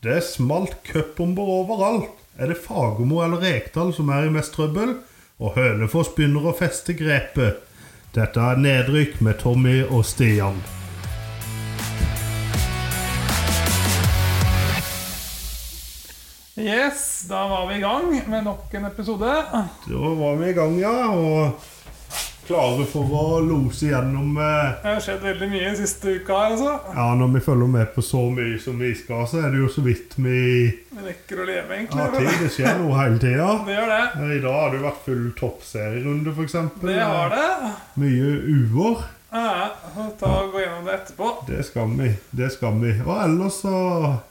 Det smalt cupbomber overalt. Er det Fagermo eller Rekdal som er i mest trøbbel? Og Hønefoss begynner å feste grepet. Dette er Nedrykk med Tommy og Stian. Yes, da var vi i gang med nok en episode. Da var vi i gang, ja. Og klare for å lose gjennom eh, Det har skjedd veldig mye siste uka her, altså. Ja, når vi følger med på så mye som vi skal, så er det jo så vidt vi Vi rekker å leve, har tid. egentlig. Det skjer noe hele tida. Det gjør det. I dag har det jo vært full toppserierunde, f.eks. Det har det. Mye uår. Ja, ta og Gå gjennom det etterpå. Det skal vi. Det skal vi. Og ellers så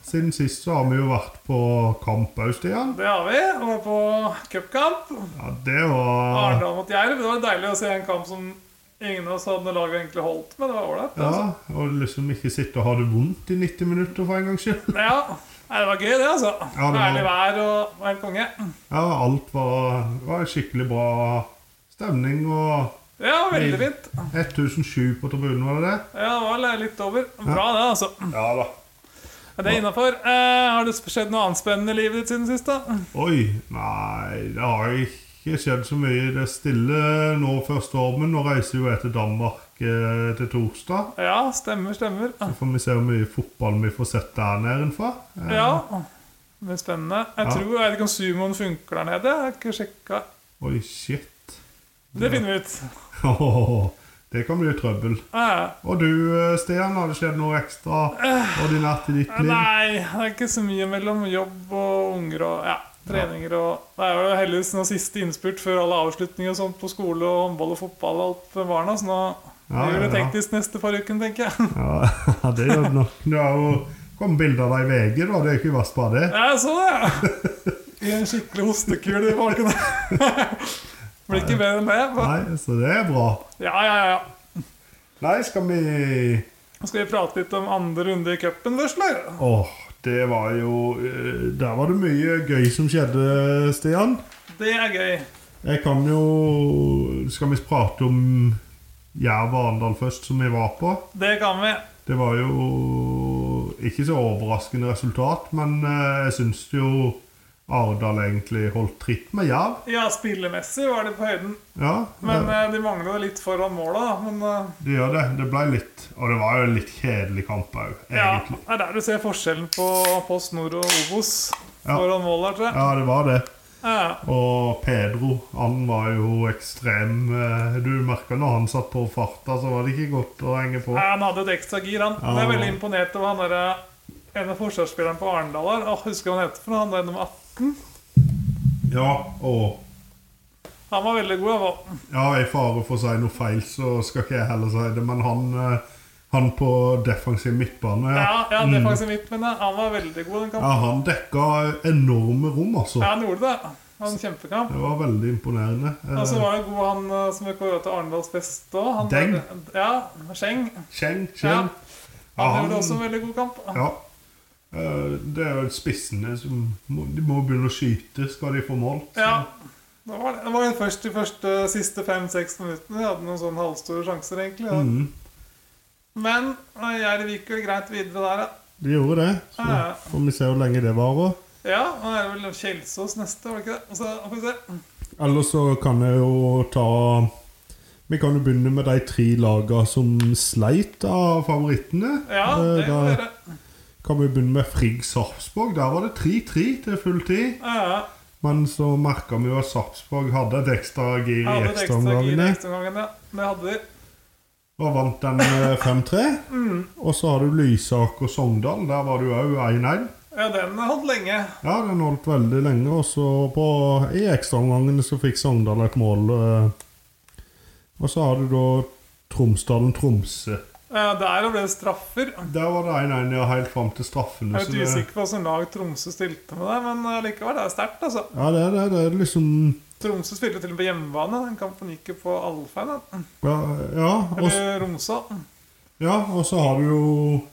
Siden sist så har vi jo vært på kamp òg, Stian. Det har vi. Og var på cupkamp. Ja, det var Arendal mot Jerv. Det var deilig å se en kamp som ingen av oss hadde laget egentlig holdt med. Det var ålreit. Ja, Altså. og liksom ikke sitte og ha det vondt i 90 minutter for en gangs skyld. Ja. Nei, det var gøy, det, altså. Ja, det var- Ærlig vær og var helt konge. Ja, alt var, var skikkelig bra stemning og Ja, veldig fint. 1007 på tribunen, var det det? Ja, det var litt over. Bra, det, altså. Ja da. Ja, Det er innafor. Eh, har det skjedd noe annet spennende i livet ditt siden sist? da? Oi, nei, det har ikke skjedd så mye. Det er stille nå før stormen. Nå reiser vi jo jeg til Danmark eh, til torsdag. Ja, stemmer, stemmer. Så får vi se hvor mye fotball vi får sett der nedenfra. Eh, Ja, det blir spennende. Jeg Ja. tror, jeg vet ikke om sumoen funker der nede. Jeg har ikke sjekka. Oi, shit. Det finner vi ut. det kan bli trøbbel. Eh, Og du, eh, Stian, har det skjedd noe ekstra ordinært i ditt liv? nei, det er ikke så mye mellom jobb og unger og ja, treninger og Det er jo heldigvis noe siste innspurt før alle avslutninger og sånt på skole og håndball og fotball og alt for barna, så nå Ja, blir det ja, ja. teknisk neste par ukene, tenker jeg. Ja, det gjør det nok. Det har jo kommet bilder av deg i VG, da. Det er jo ikke verst bare det. Jeg så det! I en skikkelig hostekul i baken. Blir ikke bedre enn det. men- Nei, så det er bra. Ja, ja, ja. Nei, skal vi Skal vi prate litt om andre runde i cupen først, eller? Åh, det var jo eh, Der var det mye gøy som skjedde, Stian. Det er gøy. Jeg kan jo Skal vi prate om Jerv og Arendal først, som vi var på? Det kan vi. Det var jo ikke så overraskende resultat, men eh, jeg syns jo Arendal egentlig holdt tritt med Jerv. Ja, spillemessig var det på høyden, Ja, men eh, eh, de mangla litt foran måla, da. Men eh, det gjør det. Det ble litt Og det var jo en litt kjedelig kamp òg, ja, egentlig. det er der du ser forskjellen på Post Nord og Obos Ja. foran mål der, tror jeg. Ja, det var det. Ja. Og Pedro, han var jo ekstrem. eh, Du merka når han satt på farta, så var det ikke godt å henge på. Nei, Han hadde et ekstra gir, han. Ja. Jeg er veldig imponert over han derre en av forsvarsspillerne på Arendal her. Åh, husker du hva han heter for noe? Han der nummer 18. Ja, og Han var veldig god. Han var. ja, i fare for å si noe feil, så skal ikke jeg heller si det, men han, eh, han på defensiv midtbane Ja, ja. ja, det er faktisk mitt, men eh, han var veldig god den kampen. ja, han dekka enorme rom, altså. Ja, han gjorde det. Det var en kjempekamp. Det var veldig imponerende. Eh, Og så var det god han eh, som ble kåra til Arendals beste òg. Deng? Ja, Scheng. Kjeng, Ja. kjeng. Han Ja, gjorde Ah, han- også en veldig god kamp. Ja. Eh, Det er jo spissene som må, De må begynne å skyte, skal de få mål. Så- Ja. Det var det. det var jo først de første siste fem-seks minuttene de hadde noen sånne halvstore sjanser, egentlig. Ja. Mhm. Men eh, Jerv gikk vel greit videre der, ja. De gjorde det. Så Ja, ja. får vi se hvor lenge det varer. Ja, og det er vel Kjelsås neste, var det ikke det? Og så får vi se. Ellers så kan jeg jo ta Vi kan jo begynne med de tre lagene som sleit av favorittene. Ja, Eh, det kan vi da gjøre. kan vi begynne med Frigg Sarpsborg. Der var det 3-3 til full tid. Ja, ja. Men så merka vi jo at Sarpsborg hadde et ekstra gir i Jeg hadde et ekstra gir i ekstraomgangene. ekstraomgangen, ja. Det hadde de. Og vant den eh, 5-3. Og så har du Lysaker Sogndal. Der var det jo òg 1-1. Ja, den holdt lenge. Ja, den holdt veldig lenge. Og så på, i ekstraomgangene så fikk Sogndal et mål. eh, Og så har du da Tromsdalen-Tromsø. Ja, Eh, der ble det straffer. Der var det 1-1 ja, helt fram til straffene. Jeg er så litt det- usikker på hvordan lag Tromsø stilte med det, men eh, likevel, det er sterkt, altså. Ja, det er det. Det er liksom Tromsø spilte til og med på hjemmebane. Den kampen gikk jo på Alfheim, da. Ja, ja og, s- eller Romsa. ja, og så har du jo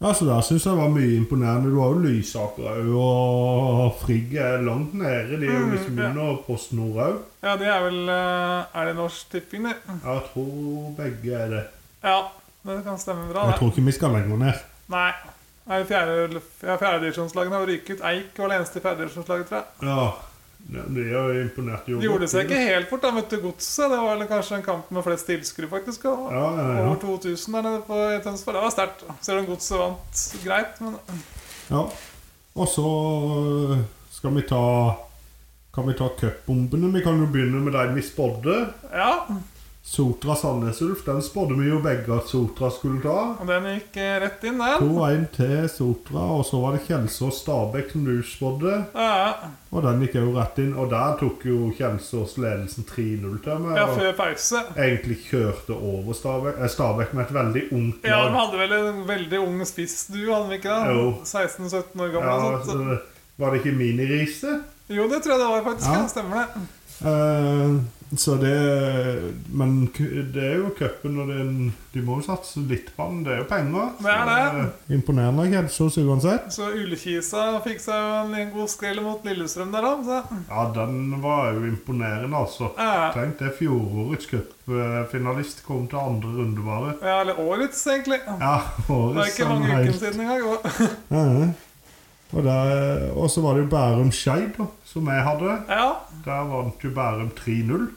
Ja, så der syns jeg var mye imponerende. Du har jo Lysaker òg, og Frigg er langt nede. De er jo liksom Mm, ja. under Post Nord òg. Ja, det er vel eh, Er det Norsk Tipping, det? Jeg tror begge er det. Ja, det kan stemme bra, Jeg det. tror ikke vi skal lenger ned. Nei. Nei, fjerde, ja, fjerdedivisjonslagene har ryket. Eik var det eneste i fjerdedivisjonslaget, tror jeg. Ja. ja, De er jo imponert. De gjorde seg ikke helt bort, da, vet du. Godset. Det var vel kanskje en kamp med flest tilskuere, faktisk. Og Ja, ja, ja. Over 2000 der nede på i Tønsberg. Det var sterkt. Selv om Godset vant greit, men Ja. Og så øh, skal vi ta Kan vi ta cupbombene? Vi kan jo begynne med dem vi spådde. ja. Sotra Sandnes Ulf, den spådde vi jo begge at Sotra skulle ta. Og den gikk eh, rett inn, den. 2-1 til Sotra, og så var det Kjelsås Stabæk som du spådde. Ja, ja. Og den gikk jo rett inn. Og der tok jo Kjelsås ledelsen 3-0 til meg. ja, og før pause. Egentlig kjørte over Stabæk, eh, Stabæk med et veldig ungt Ja, de lag. hadde vel en veldig ung spiss, du, hadde vi ikke det? Jo. 16-17 år gammel. Ja, og så, sånt. var det ikke minirise? Jo, det tror jeg det var, faktisk. Ja. Ja. Stemmer det. Eh, så det Men ku- det er jo cupen, og det er en, de må jo satse litt på den. Det er jo penger. Det er det. Så, eh, Imponerende av Kjelsås uansett. Så Ullkisa fikk seg jo en liten god skrell mot Lillestrøm der òg. Ja, den var jo imponerende, altså. Ja, Tenk det, fjorårets cupfinalist kom til andre runde, bare. Ja, eller årets, egentlig. Det Ja, er årets ikke mange sånn ukene helt- siden engang. Ja, ja. Og der- Og så var det jo Bærum Skeid, da, som jeg hadde. Ja, Der vant jo Bærum 3-0.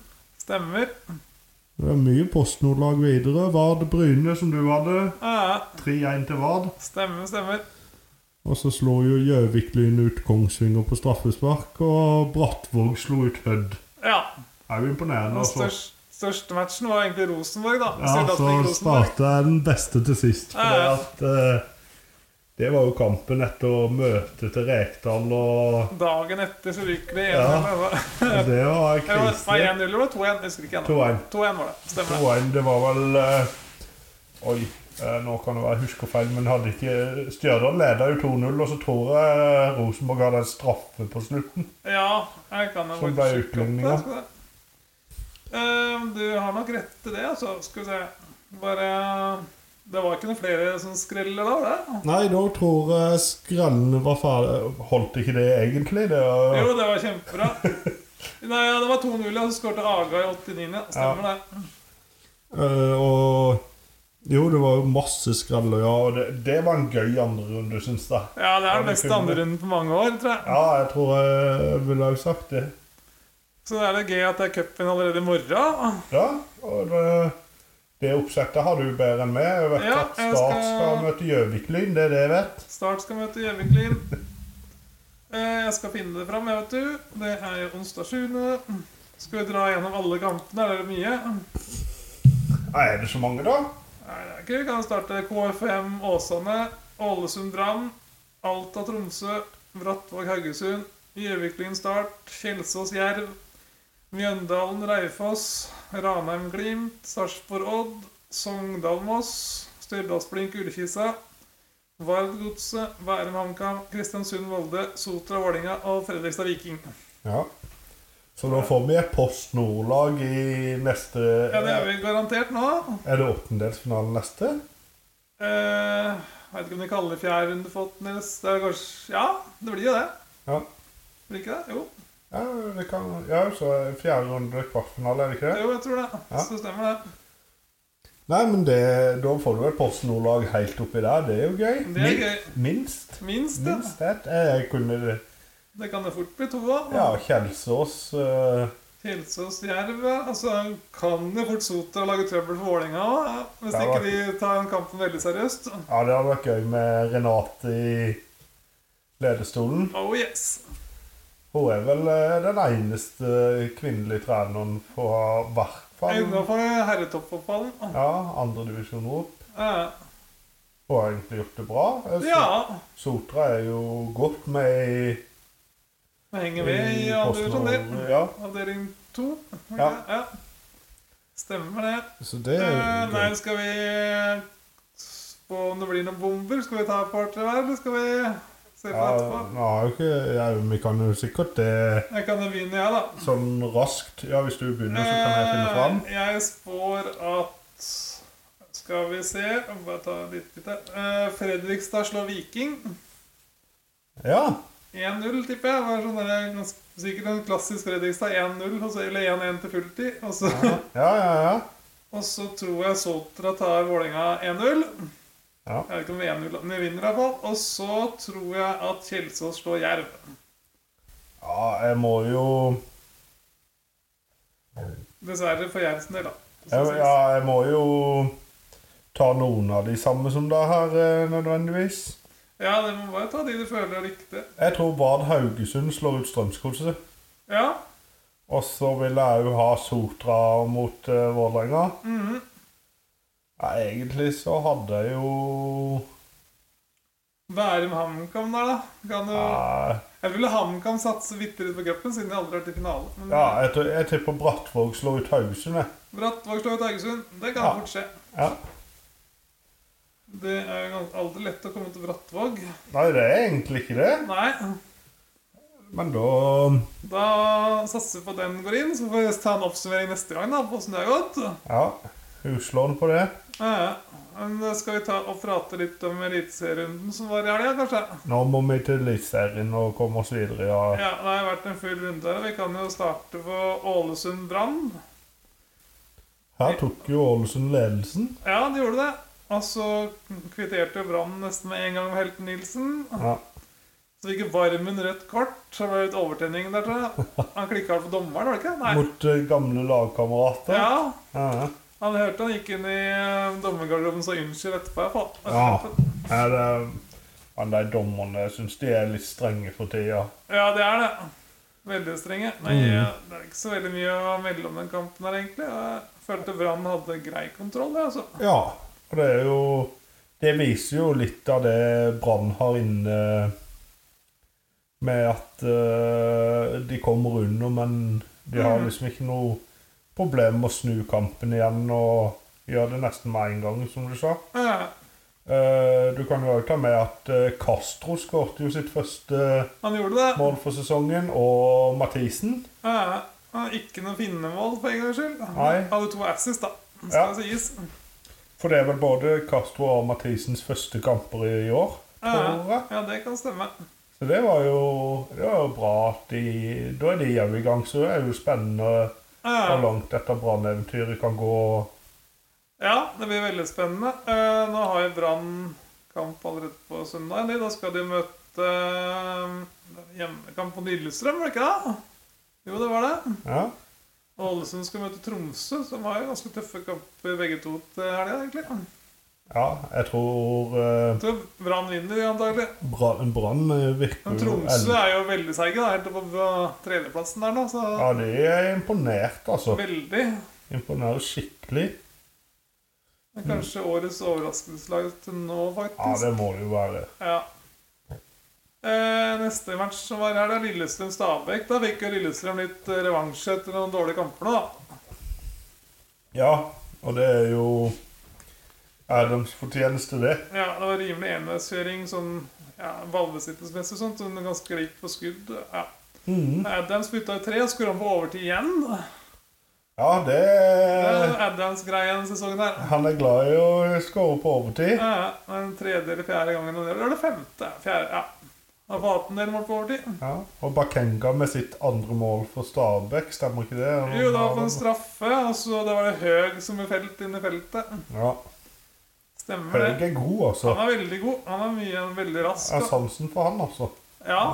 stemmer. Det var mye postnordlag videre. Vard Bryne, som du hadde. Ja, 3-1 til Vard. stemmer, stemmer. Og så slo jo Gjøvik-Lyn ut Kongsvinger på straffespark, og Brattvåg slo ut Hødd. Ja. Det er jo imponerende. Den altså. største, største matchen var egentlig Rosenborg, da. Ja, så Stjørdals-Blink Rosenborg. starta jeg den beste til sist. For det, Ja, ja. at, eh, det var jo kampen etter møtet til Rekdal, og Dagen etter så ryker det 1-0. Ja. eller- og det var Eller var det- var det krise. 1-0 eller var det 2-1? Jeg Husker ikke ennå. 2-1. 2-1 var det. Stemmer det. 2-1, det var vel eh, Oi, eh, nå kan det være jeg husker feil, men hadde ikke Stjørdal leda jo 2-0, og så tror jeg eh, Rosenborg hadde en straffe på slutten. Ja, jeg kan jo Som faktisk ble sjekke opp det, utligninga. skal jeg. Ehm, Du har nok rett til det, altså. Skal vi se. Bare Det var ikke noen flere som skreller da? var det? Nei, da tror jeg skrellene var ferdig Holdt ikke det egentlig? Det var... Jo, det var kjempebra. Nei, ja, det var 2-0, ja. Så skårte Aga i 89. Ja. Stemmer det. Eh, og Jo, det var jo masse skreller, ja. Og det, det var en gøy andrerunde, syns jeg. Ja, det er den beste andrerunden på mange år, tror jeg. Ja, jeg tror jeg ville ha sagt det. Så er det gøy at det er cupen allerede i morgen. Ja, og det, det oppsettet har du bedre enn meg. Jeg vet Ja, at jeg Start skal- skal møte Gjøvik-Lyn, det er det jeg vet. Start skal møte Gjøvik-Lyn. Eh, Jeg skal finne det fram, jeg, vet du. Det er jo onsdag 7. Skal vi dra gjennom alle kampene? Er det mye? Nei, er det så mange, da? Nei, det er ikke Vi kan starte KFM Åsane, Ålesund Brann, Alta Tromsø, Brattvåg Haugesund, Gjøvik-Lyn Start, Kjelsås Jerv, Mjøndalen Raufoss, Ranheim Glimt, Sarpsborg Odd, Sogndal Moss, Stjørdalsblink Ullkisa, Vard Godset, Bærum HamKam, Kristiansund Volde, Sotra Vålinga og Fredrikstad Viking. Ja. Så da får vi et Post Nord-lag i neste Ja, det er vi garantert nå. Er det åttendelsfinalen neste? Eh, vet ikke om de kaller det fjerde runde for åttendels. Det er kanskje Ja, det blir jo det. Ja. Blir det ikke det? Jo, Ja, det kan, ja så er fjerde runde kvartfinale, er det ikke det? jo jeg tror det. Ja. Så stemmer det. Nei, men det, da får du et Post Nord-lag helt oppi der. Det er jo gøy. Det er gøy. Minst. Minst, det. Minst ett. Jeg kunne det. Det kan det fort bli to av. Ja, Kjelsås eh, Kjelsås Jerv ja. Altså, kan jo fort Sotra lage trøbbel for Vålerenga òg, ja. hvis Ja, ikke da. de tar den kampen veldig seriøst. Ja, det hadde vært gøy med Renate i ledestolen. Oh yes. Hun er vel eh, den eneste kvinnelige treneren på hvert fall. Innafor herretoppfotballen. Ja, andredivisjon opp. Ja. Hun har egentlig gjort det bra. Jeg ja. synes Sotra er jo godt med i, Vi henger med i andre Post divisjon, Nord. det. Ja, Avdeling to. ikke Ja. det? ja. Stemmer det. så det er Eh, jo nei, gøy. skal vi spå om det blir noen bomber? Skal vi ta et par-tre hver, eller skal vi se på Ja, etterpå? nå har jo ikke, ja, vi kan jo sikkert eh, det Jeg kan jo begynne, jeg, da. sånn raskt. Ja, hvis du begynner, så kan jeg finne fram. Eh, Jeg spår at Skal vi se jeg må Bare ta litt bit her. Eh, Fredrikstad slår Viking. Ja, 1-0, tipper jeg. Det var sånn der, gans- sikkert en klassisk Fredrikstad. 1-0, og så- eller 1-1 til fulltid. Og så, ja, ja. ja. og så tror jeg Sotra tar Vålerenga 1-0. Ja. Jeg vet ikke om Venum vinner, iallfall. Og så tror jeg at Kjelsås slår Jerv. ja, jeg må jo Dessverre for Jervs del, da. jeg, Ja, jeg må jo ta noen av de samme som da her, eh, nødvendigvis. ja, det må bare ta de du føler er riktig. Jeg tror Vard Haugesund slår ut Strømsgodset. Ja. Og så vil jeg jo ha Sotra mot uh, Vålerenga. mhm. Ja, egentlig så hadde jeg jo Bærum HamKam der, da. Kan du... ja, Jeg ville HamKam satse bitte litt på cupen, siden de aldri har vært i finalen. Men ja, jeg, tror- jeg tipper Brattvåg slår ut Haugesund, jeg. Brattvåg slår ut Haugesund. Det kan Ja. fort skje. Ja. Det er jo gans- aldri lett å komme til Brattvåg. Nei, det er egentlig ikke det. Nei. Men da Da satser vi på den går inn, så får vi ta en oppsummering neste gang da, på hvordan det har gått. Ja, huslån på det. Ja, ja. Men eh, skal vi ta og prate litt om eliteserierunden som var i helga, kanskje? Nå må vi til Eliteserien og komme oss videre. Ja. Ja, det har vært en full runde her. og Vi kan jo starte på Ålesund Brann. Her tok jo Ålesund ledelsen. Ja, de gjorde det. Og så kvitterte jo Brann nesten med en gang med Helten Nilsen. Ja. Så fikk Varmen rødt kort. Så ble det litt overtenning der, tror jeg. Han klikka vel på dommeren, var det ikke? Nei. Mot eh, gamle lagkamerater. Ja, Ja. han hørte han gikk inn i eh, dommergarderoben så unnskyld etterpå. Jeg faen. Ja. ja. det er, han der dommerne jeg syns de er litt strenge for tida. Ja, det er det. Veldig strenge. Nei, Mm. det er ikke så veldig mye å melde om den kampen her, egentlig. Jeg følte Brann hadde grei kontroll, jeg, altså. Ja. Og det er jo Det viser jo litt av det Brann har inne med at eh, de kommer under, men de har Mhm. liksom ikke noe problem med å snu kampen igjen og gjøre det nesten med en gang, som du sa. Ja, Eh, du kan jo også ta med at eh, Castro skårte jo sitt første han gjorde det. mål for sesongen, og Mathisen. Ja, han hadde ikke noe finnemål, for en gangs skyld. Nei. Han hadde to assis, da. Ja. Skal det sies. For det er vel både Castro og Mathisens første kamper i år. tror jeg. Ja, ja, det kan stemme. Så det var jo, det var jo bra at de Da er de òg i gang, så det er jo spennende hvor Ja, langt dette branneventyret kan gå. ja, det blir veldig spennende. Eh, Nå har jo Brann kamp allerede på søndag. eller? Da skal de møte eh, hjemmekamp på Lillestrøm, var det ikke det? Jo, det var det. Ja. Ålesund skal møte Tromsø, som har jo ganske tøffe kamper begge to til helga, egentlig. ja jeg tror eh, Jeg tror Brann vinner, de, antagelig. Bra- Brann eh, virker Men jo Tromsø eld- er jo veldig seige, da, helt oppe på tredjeplassen der nå, så Ja, de er imponert, altså. veldig. Imponerer skikkelig. Det er kanskje årets overraskelseslag til nå, Ja, faktisk. det må det jo være. Ja. Eh, neste match som var her, det er Lillestrøm-Stabæk. Da fikk jo Lillestrøm litt eh, revansj etter noen dårlige kamper nå, da. Ja, og det er jo Adams fortjeneste, det. Ja, det var rimelig enveiskjøring sånn ja, ballbesittelsesmessig og sånt, sånn ganske lik på skudd. Ja. Eh, Mhm. Adams bytta i tre og skåra på overtid igjen. Ja, det Det er Adams-greia denne sesongen her. Han er glad i å skåre på overtid. Ja, ja. Den tredje eller fjerde gangen han gjør det. Eller femte. Fjerde, ja. Han har fått en del mål på overtid. Ja. Og Bakenga med sitt andre mål for Stabæk, stemmer ikke det? Jo, det var på en straffe, og så det var det Høg som ble felt inn i feltet. Ja. Stemmer Høg det. er god, altså. Han er veldig god. Han er mye veldig rask. Jeg har da. sansen for han, altså. Ja.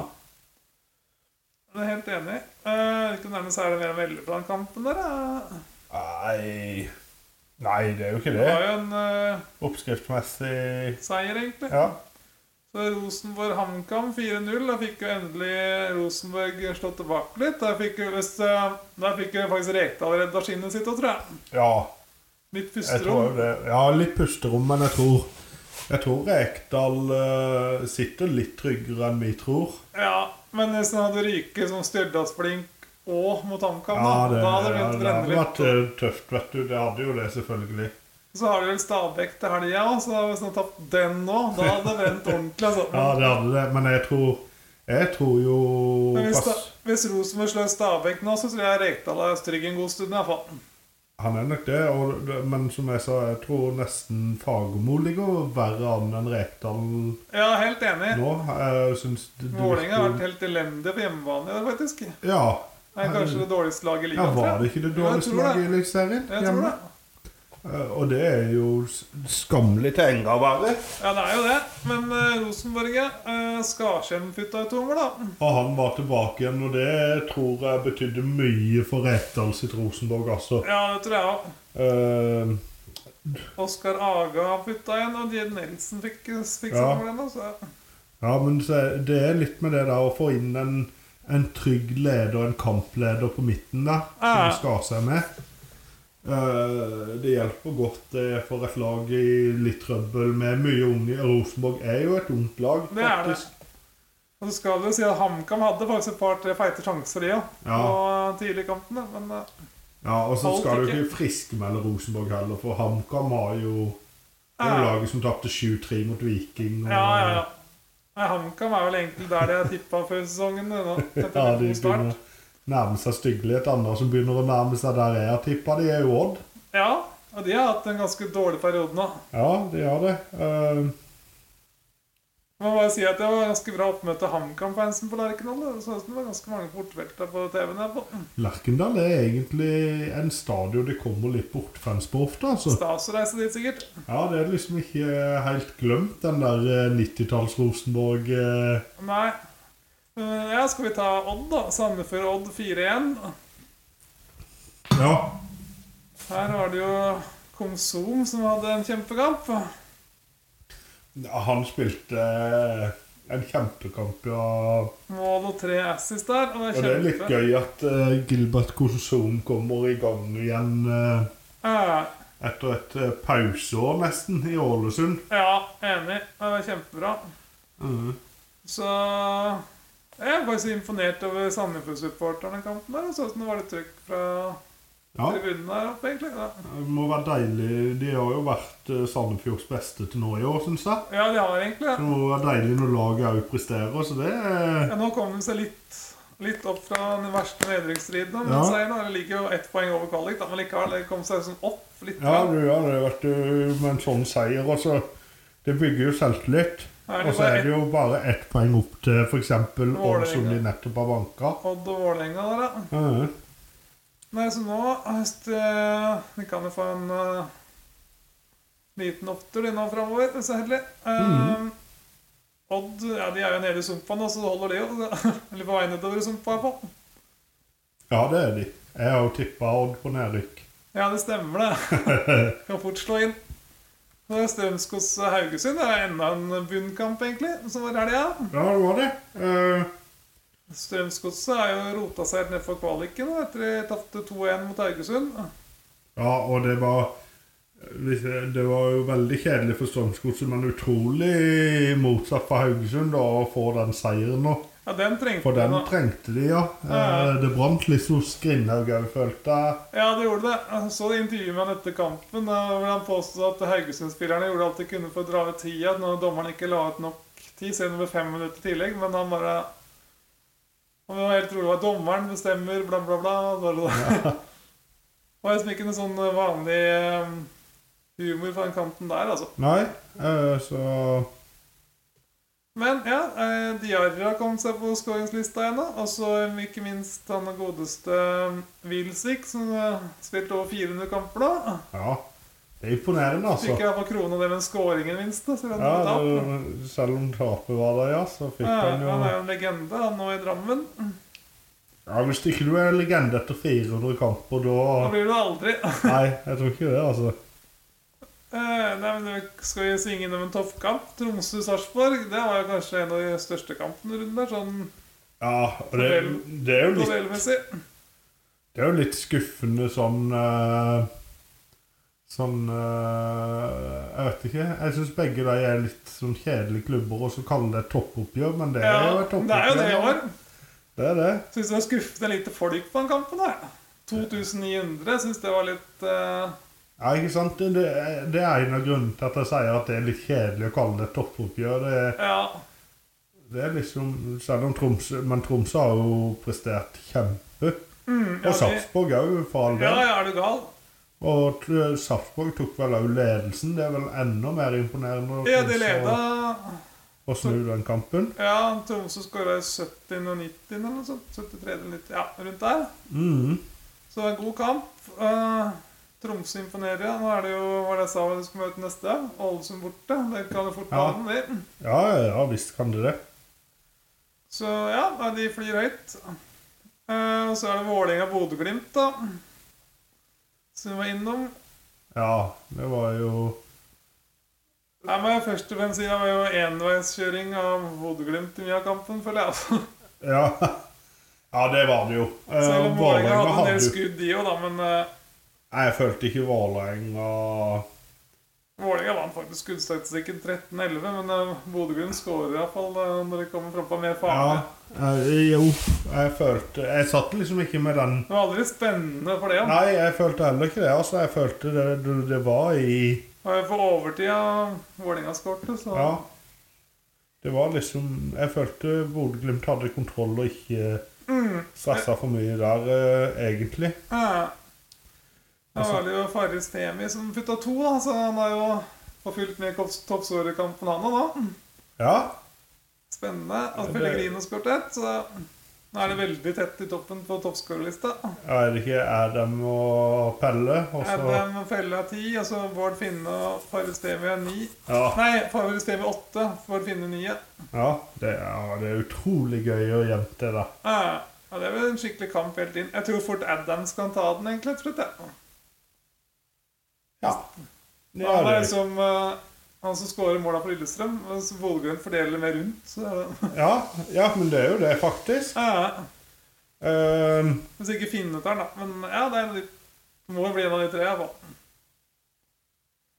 Jeg er helt enig. Uh, ikke nærmest er det mer å melde på den kampen der. eh. Nei Nei, det er jo ikke Det det. var jo en eh, Oppskriftmessig seier, egentlig. Ja. Så Rosenborg-HamKam 4-0. Da fikk jo endelig Rosenborg slått tilbake litt. Der fikk jo, hvis, eh, der fikk jo faktisk Rekdal redda skinnet sitt òg, tror jeg. ja. Litt Jeg tror jo pusterom. det. Ja, litt pusterom, men jeg tror Jeg tror Rekdal eh, sitter litt tryggere enn vi tror. Ja, men hvis han hadde ryket som Stjørdalsblink og mot HamKam, Ja, da, det, da hadde ja, det begynt å det hadde brenne litt. vært eh, tøft, vet du. Det hadde jo det, selvfølgelig. Så har de vel Stabæk til helga òg, så hvis han hadde tapt den nå, da hadde det brent ordentlig. Altså. Ja, det hadde det, men jeg tror Jeg tror jo Men hvis, da, pass, hvis Rosenborg slår Stabæk nå, så tror jeg Rekdal er trygg en god stund. i hvert fall. Han er nok det, og, det- men som jeg sa, jeg tror nesten Fagermo ligger verre an enn Rekdal Ja, helt enig. nå. Jeg synes det, det Vålerenga har virker- vært helt elendig på hjemmebane i år, faktisk. Ja. Det er kanskje det dårligste laget i ja, ligaen. tror var jeg. det ikke det Jo, jeg dårligste tror det. laget i Eliteserien? Jeg tror det. hjemme? Eh, Og det er jo s- skammelig til enga å være. Ja, det er jo det. Men eh, Rosenborget uh, Skarsheim putta ut to mål, da. Og han var tilbake igjen, og det tror jeg betydde mye for Rekdal sitt Rosenborg, altså. Ja, det tror jeg òg. Eh, Oskar Aga putta en, og Jed Nelson fikk, fikk Ja. seg mål ennå, så ja, men se- det er litt med det der å få inn en, en trygg leder, en kampleder på midten der, Ja. som skar seg med. Eh, det hjelper godt eh, for et lag i litt trøbbel med mye unge. Rosenborg er jo et ungt lag, Det er det. faktisk. Og så skal det jo si at HamKam hadde faktisk et par-tre feite sjanser, de òg, Ja. på tidlig i kampen. da. Men eh, Ja, og så Alt skal du ikke. ikke friskmelde Rosenborg heller, for HamKam har jo Det er jo Ja. laget som tapte 7-3 mot Viking. Og, ja, ja, ja. Nei, HamKam er vel egentlig der de er tippa før sesongen. Nå, etter Ja, en de god start. begynner å nærme seg styggelighet. Andre som begynner å nærme seg der jeg har tippa, de er jo Odd. Ja, og de har hatt en ganske dårlig periode nå. Ja, de gjør det. Eh, Man må bare si at det var ganske bra oppmøte til HamKam-fansen på Lerkendal. da. Det så ut som det var ganske mange bortvelta på TV-en der. på. Lerkendal er egentlig en stadion det kommer litt bortfans på ofte. altså. Stas å reise dit, sikkert. Ja, Det er liksom ikke eh, helt glemt, den der eh, 90-talls Rosenborg. eh. Nei. Eh, Ja, skal vi ta Odd, da? Sandefjord Odd 4-1. Ja, Her var det jo Komsom som hadde en kjempekamp. han spilte eh, en kjempekamp, ja. Mål og tre assist der. Og det Og er det er litt kjempe. gøy at eh, Gilbert Konsum kommer i gang igjen eh, Ja, etter et eh, pauseår, nesten, i Ålesund. ja, enig. Det var kjempebra. Mhm. Så jeg er bare så imponert over Sandefjord-supporterne i kampen der. og Så ut som det var litt trykk fra Ja, tribunen der oppe, egentlig. Da. det må være deilig. De har jo vært eh, Sandefjords beste til nå i år, syns jeg. Ja, de har egentlig Det det. må være deilig når laget òg presterer, så det er Ja, nå kom de seg litt, litt opp fra den verste nedrykksstriden. da, Men Ja. seieren da, det ligger jo ett poeng over kvalik, da, men likevel. Det kom seg sånn opp litt. Ja, grann. du gjør det, vet du, med en sånn seier. Og så Det bygger jo selvtillit. Er det Og så bare er det jo bare ett poeng opp til f.eks. Ål som Vålerenga. de nettopp har banka. Odd og Vålerenga der, da. Mhm. Nei, så nå hvis det- Vi kan jo få en eh, liten opptur de nå framover, hvis jeg er heldig. Eh, Mhm. Odd ja, de er jo nede i sumpa nå, så det holder det jo. Eller på vei nedover i sumpa. er på. Ja, det er de. Jeg har jo tippa Odd på nedrykk. Ja, det stemmer, det. kan fort slå inn. Så er Strømskos Haugesund det er enda en bunnkamp, egentlig, som var i helga. Ja, det var det. Eh, Strømsgodset er jo rota seg helt nedfor kvaliken nå, etter de tapte 2-1 mot Haugesund. ja, og det var Det var jo veldig kjedelig for Strømsgodset, men utrolig motsatt for Haugesund da, å få den seieren nå. Ja, den trengte For den de nå. trengte de, ja. Ja, Eh, Det brant litt hos Grindhaug òg, følte jeg. Ja, det gjorde det. Jeg så det intervjuet med han etter kampen, eh, hvor han påstod at Haugesund-spillerne gjorde alt de kunne for å dra ut tida når dommeren ikke la ut nok tid, selv om det ble fem minutter i tillegg, men han bare Han var helt rolig at dommeren bestemmer, bla, bla, bla. bla, bla. Det var liksom ikke noe sånn vanlig eh, humor fra den kanten der, altså. Nei, eh, så Men ja, eh, Diarra kom seg på skåringslista igjen, da. Og så eh, ikke minst han godeste eh, Wilsik, som eh, spilte over 400 kamper, da. Ja. Det er imponerende, altså. Fikk jeg på krona det med en scoring i det minste. Så han Ja, ja, det, det- selv om tapet var der, ja, så fikk ja, han han er jo jo en legende, han nå i Drammen. Ja, Hvis ikke du er legende etter 400 kamper, Da da blir du aldri Nei, jeg tror ikke det, altså. Eh, Nei, men det- Skal vi synge innom en toppkamp? Tromsø-Sarpsborg. Det var jo kanskje en av de største kampene rundt der, sånn Ja, og det, det er jo litt novellmessig. Det er jo litt skuffende sånn eh, Sånn eh, Jeg vet ikke. Jeg syns begge de er litt sånn kjedelige klubber, og så kaller det et toppoppgjør, men det er jo Ja, et det er jo toppoppgjør. det i år. Det er det. Syns det var skuffende lite folk på den kampen der. 2900 syns det var litt eh, Ja, ikke sant? Det, det er- det er en av grunnene til at jeg sier at det er litt kjedelig å kalle det et toppoppgjør. Det, er- Ja. det er liksom Selv om Tromsø Men Tromsø har jo prestert kjempe. Mm, ja, Og de- Sarpsborg òg, for all Ja, del. ja, er du gal? Og eh, Sarpsborg tok vel òg ledelsen. Det er vel enda mer imponerende. Ja, de Tromsø- leda å snu den kampen. Ja, Tromsø skåra i 70. og 90. eller noe sånt. 73. eller 90. Ja, rundt der. Mhm. Så det var en god kamp. Eh, Tromsø imponerer. Nå er det jo hva var det jeg sa hva de skulle møte neste. Ålesund borte. Det kan jo fort Ja. banen, det. Ja, ja, ja, visst kan det det. Så ja, nei, de flyr høyt. Eh, Og så er det Vålerenga-Bodø-Glimt, da. Som vi var innom. Ja, det var jo Nei, men først og fremst si det var jo enveiskjøring av Bodø-Glimt i mye av kampen, føler jeg. altså. Ja, ja det var det jo. Eh, Selv om Vålerenga hadde en del jo- skudd, de òg, da. Men eh, Nei, jeg følte ikke Vålerenga Vålerenga vant faktisk skuddstatistikken 13-11, men eh, Bodø-Glimt skårer iallfall eh, når de kommer frampå mer farlig. Ja, eh, jo, jeg følte Jeg satt liksom ikke med den Det var aldri spennende for det. Ja. Nei, jeg følte heller ikke det. altså Jeg følte det, det, det var i Og På overtida Vålerenga skårte, så Ja. Det var liksom Jeg følte Bodø-Glimt hadde kontroll og ikke Mm. stressa for mye der, eh, egentlig. Ja. Det Altså- var det jo Faris Temi som putta to, da, så han har jo forfylt med kops- toppskårerkampen, han òg, da. Ja, Spennende. Ja, At det- Pellegrino skåret ett, så nå er det veldig tett i toppen på toppskårerlista. ja, er det ikke Adam og Pelle? Og så Adam Felle er ti, og så Bård Finne og Faris Temi er ni. ja, Nei, Faris Temi er åtte, Bård Finne ni. Ja, ja, det, ja, det er utrolig gøy og jevnt, det der. ja, det er vel en skikkelig kamp helt inn. Jeg tror fort Adams kan ta den, egentlig. rett og slett, ja. Ja. Ja, han er liksom eh, han som skårer måla for Lillestrøm. Mens Vålgrønn fordeler mer rundt. Så, er det- Ja, ja, men det er jo det, faktisk. ja, Ehm, hvis ikke Finne tar den, da. Men ja, det, er en av de, det må jo bli en av de tre. Jeg,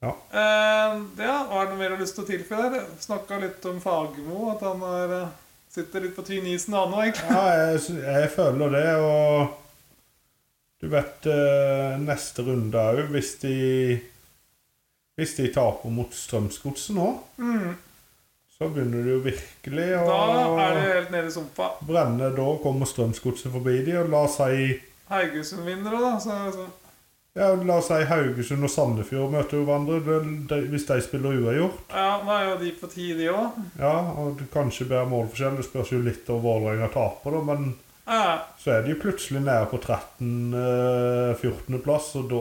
Ja. Uh, ja, Hva er det mer du har lyst til å tilføye der? Snakka litt om Fagermo. At han er, eh, sitter litt på tynn is nå, nå, egentlig. ja, jeg, sy- jeg føler det, og du vet eh, neste runde òg, hvis de Hvis de taper mot Strømsgodset nå, Mm. så begynner det jo virkelig å Da er det helt nede i sumpa. brenne. Da kommer Strømsgodset forbi de, og la oss si Haugesund vinner òg, da. Så er det sånn ja, La oss si Haugesund og Sandefjord møter jo hverandre. Det- det- Hvis de spiller uavgjort Ja, nå er jo de på ti, de òg. Ja, og det kanskje bedre målforskjell. Det spørs jo litt om Vålerenga taper, da, men Ja, så er de jo plutselig nede på 13.-14.-plass, og da,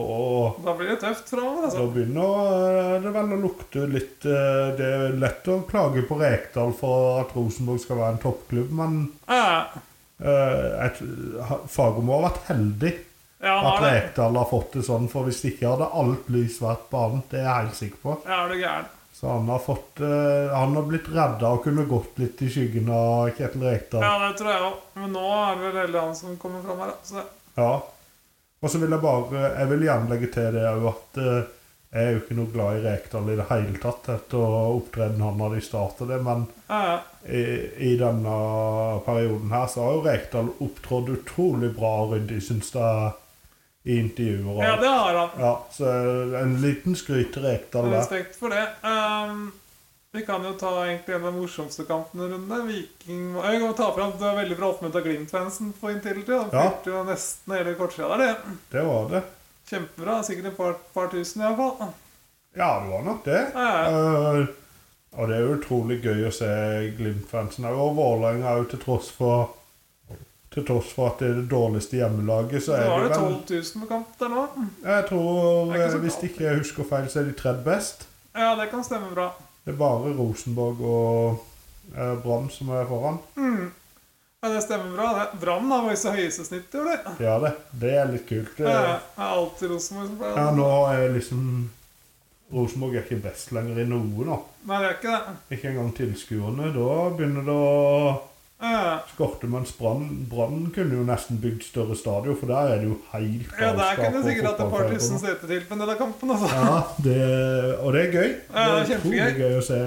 da blir det tøft framover, altså. da begynner eh, det vel å lukte litt eh, Det er lett å klage på Rekdal for at Rosenborg skal være en toppklubb, men Ja. eh, jeg tr- ha- Fagermo har vært heldig Ja, han at har det. Rekdal har fått det sånn, for hvis ikke hadde alt lys vært på han, det er jeg helt sikker på. Ja, er du gæren. Så han har, fått, eh, han har blitt redda og kunne gått litt i skyggen av Kjetil Rekdal. Ja, det tror jeg òg. Men nå er det vel heller han som kommer fram her. da. Så Ja. Og så vil jeg bare Jeg vil gjerne legge til det òg at eh, jeg er jo ikke noe glad i Rekdal i det hele tatt etter opptredenen han hadde i starten, det, men ja, i, i denne perioden her så har jo Rekdal opptrådt utrolig bra og ryddig, syns jeg, i intervjuer. og- ja, det har han. ja, så en liten skryt til Rekdal der. Respekt for det. Ehm, vi kan jo ta egentlig en av de morsomste kampene i runden. Viking Jeg kan ta fram at du er veldig bra oppmøtt av Glimt-fansen på Intility. Han Ja. fylte jo nesten hele kortsida der, det. Det var det. Kjempebra. Sikkert et par, par tusen, iallfall. Ja, det var nok det. Ja, Eh, og det er jo utrolig gøy å se Glimt-fansen her. Og Vålerenga òg, til tross for til tross for at det er det dårligste hjemmelaget, så så er var det det 12 vel 000 på kamp der nå. Jeg tror, Det er ikke så eh, hvis galt. ikke jeg husker feil, så er de tredje best. Ja, det kan stemme bra. Det er bare Rosenborg og eh, Brann som er foran. Mm. Ja, det stemmer bra. det. Brann har visst det høyeste snittet, gjorde det. Ja, det. Det er litt kult. Det, Ja, ja. Det er alltid Rosenborg som pleier ja, å nå er liksom Rosenborg er ikke best lenger i noe nå. Nei, det er ikke det. Ikke engang tilskuerne. Da begynner det å Ja, Skorte mens Brann Brann kunne jo nesten bygd større stadion, for der er det jo helt ja der galskap kunne du på sikkert hatt et par fotballfeltene. tusen seter til på en del av kampen. Altså. Ja, det, og det er gøy. Ja, det er utrolig kjempegøy. gøy å se.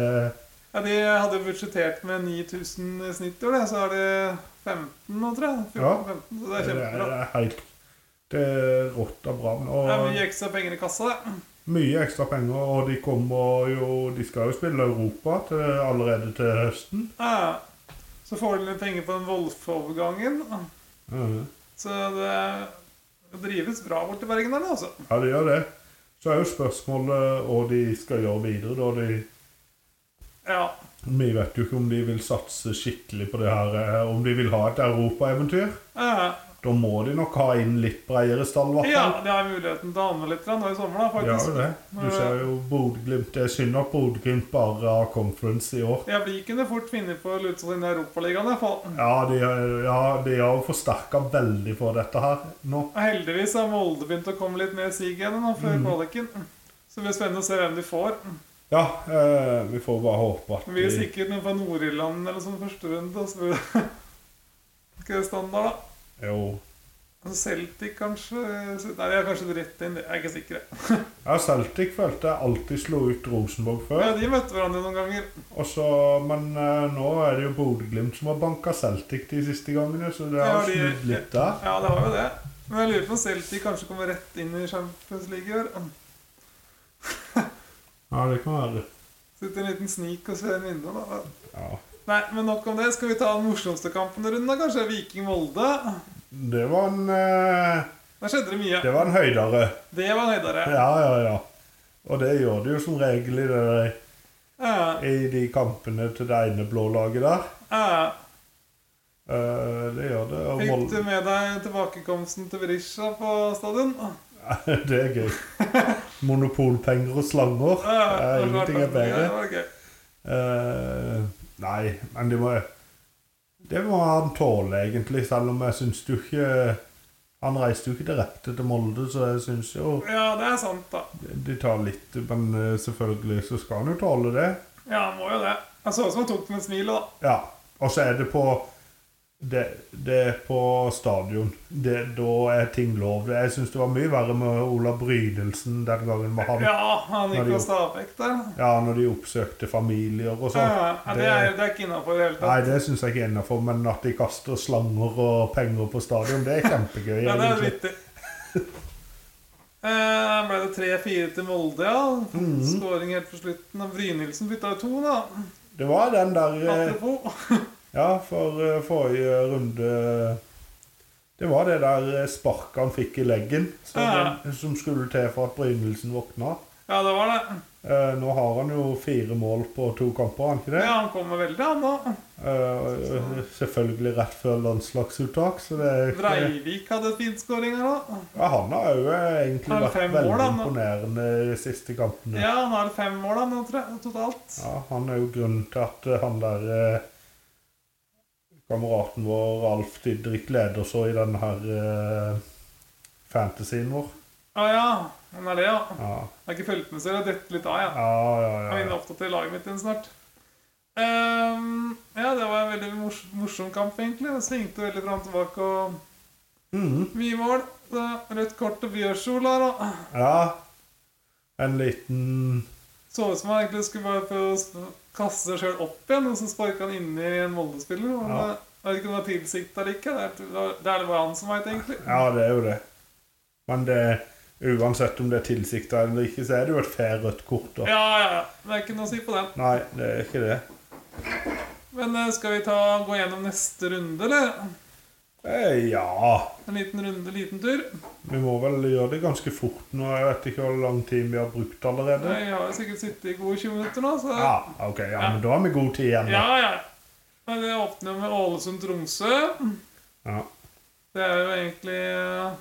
Ja, de hadde budsjettert med 9000 i snitt, gjorde det, så er det 15 nå, tror jeg. 14, Ja. 15, så det Det er er, det kjempebra. er helt det er rått av Brann. Og Det er mye ekstra penger i kassa, det. mye ekstra penger, og de kommer jo De skal jo spille Europa til, allerede til høsten. Ja. Så får de litt penger på den Wolff-overgangen. Så det drives bra borti Bergen der nå, altså. Ja, de gjør det. Så er jo spørsmålet hva de skal gjøre videre, da de Ja. Vi vet jo ikke om de vil satse skikkelig på det her, eh, om de vil ha et europaeventyr. ja. Da må de nok ha inn litt bredere stall, i hvert Ja, fall. det er muligheten til å ane litt grann nå i sommer, da, Ja, faktisk. Eh, det. Du ser jo Bodø-Glimt. Det er synd at Bodø-Glimt bare har conference i år. Ja, vi kunne fort finne på å lute oss inn i Europaligaen. i hvert fall. Ja, de, har- ja, de har jo forsterka veldig på dette her nå. Heldigvis har Molde begynt å komme litt mer sig igjen Mm. nå før kvaliken. Så det blir spennende å se hvem de får. Ja, eh, vi får bare håpe at Vi blir sikkert noen fra Nord-Irland eller sånn første runde. og så blir det- Ikke det standard, da? Altså Jo. Celtic, Celtic, kanskje? Så- Nei, de er kanskje rett inn. Jeg er ikke sikker. jeg. Ja, Celtic følte jeg alltid slo ut Rosenborg før. Ja, de møtte hverandre noen ganger. Og så, men eh, nå er det jo Bodø-Glimt som har banka Celtic de siste gangene, så det har Ja, de- snudd litt der. Ja, det har jo det. Men jeg lurer på om Celtic kanskje kommer rett inn i Champions League i år. Ja, det kan være. Sitter en liten snik og ser en vinner, da. Ja. Nei, men nok om det. Skal vi ta den morsomste kampen i runden, da? Kanskje Viking-Molde? Det var en eh, Der skjedde det mye. Det var en høydere. Det var høydere. Ja, ja, ja. Og det gjør det jo som regel i, det, der- Ja, i de kampene til det ene blå laget der. ja. Eh, det gjør det. Og Fikk Molde du med deg tilbakekomsten til Berisha på stadion? Det er gøy. Monopolpenger og slanger. Ja, Eh, ingenting er bedre. Ja, det var gøy. Eh, nei, men det må Det må han tåle, egentlig, selv om jeg syns jo ikke Han reiste jo ikke direkte til Molde, så jeg syns jo Ja, det er sant, da. de tar litt Men eh, selvfølgelig så skal han jo tåle det. Ja, han må jo det. Jeg så ut som han tok det med et smil, da. Ja. Og så er det på det, det er på stadion. Det, da er ting lov. Jeg syns det var mye verre med Ola Brydelsen den gangen med han. Ja, Ja, han Har gikk de på Stabæk der. når de oppsøkte familier og Ja, sånn. ja, det er, det er ikke innafor i det hele Nei, tatt. det syns jeg ikke er innafor, men at de kaster slanger og penger på stadion, det er kjempegøy. Ja, det er egentlig. vittig. Eh, ble det 3-4 til Molde, ja. Mhm. Skåring helt på slutten. Og Brynildsen bytta jo to, da. det var den der eh, Apropos. Ja, for eh, forrige runde Det var det der eh, sparket han fikk i leggen som, Ja. som skulle til for at Brynildsen våkna. Ja, det var det. Eh, nå har han jo fire mål på to kamper, har han ikke det? Ja, han kommer veldig, han nå. Eh, eh, selvfølgelig rett før landslagsuttak, så det er ikke Breivik hadde finskåring her òg. ja, Han har jo eh, egentlig Han har vært fem veldig mål, han, da. imponerende de siste kampene. Ja, han har fem mål da, nå, tre- totalt. Ja, han er jo grunnen til at eh, han der eh, kameraten vår, Alf Didrik, leder så i den her eh, fantasyen vår. Å ja, han er det, ja. Ja, Jeg har ikke fulgt med, så jeg har dette litt av, ja. ja, ja. Jeg er ja, inne ja. opptatt i laget mitt igjen snart. Ehm, ja, det var en veldig mors morsom kamp, egentlig. Det svingte veldig fram og tilbake og Mhm, mye mål. Så rødt kort til Bjørsol her, da. ja. En liten Så ut som han egentlig skulle bare prøve å s- kaste seg sjøl opp igjen, og så sparka han inni en Molde-spiller. men Ja. det- Jeg vet ikke om det var tilsikta eller ikke. Det er- det er det bare han som veit, egentlig. Ja, det er jo det. Men det uansett om det er tilsikta eller ikke, så er det jo et fair rødt kort. da. Ja, ja, ja. Det er ikke noe å si på den. Nei, det er ikke det. Men eh, skal vi ta, gå gjennom neste runde, eller? Eh, ja. En liten runde, liten tur. Vi må vel gjøre det ganske fort nå. Jeg vet ikke hvor lang tid vi har brukt allerede. Jeg har jo sikkert sittet i gode 20 minutter nå, så Ja, ok. Ja, men da har vi god tid igjen. ja. da. ja. Men det åpner med Ålesund-Tromsø. Ja. Det er jo egentlig eh,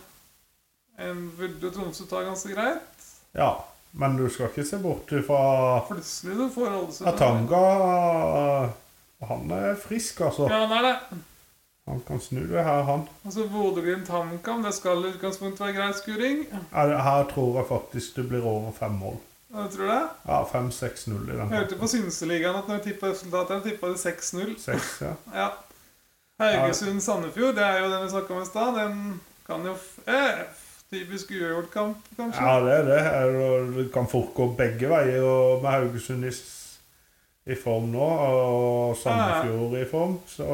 en burde Tromsø ta ganske greit. ja. Men du skal ikke se bort fra Plutselig så får Ålesund Atanga. Han er frisk, altså. Ja, han er det. Han kan snu det her, han. Og så Bodø-Glimt-HamKam. Det skal i utgangspunktet være greit skuring. Her her tror jeg faktisk det blir over fem mål. Ja, Tror du det? Ja, 5-6-0 i den. Jeg hørte på Synseligaen at når jeg tippa resultatet, jeg tippa det 6-0. Seks, ja. Ja. Haugesund-Sandefjord, det er jo den vi snakka om i stad. Den kan jo f eh, Typisk uavgjort-kamp, kanskje. Ja, det er det. Er- Det kan fort gå begge veier og med Haugesund i, s- i form nå og Sandefjord i form. Så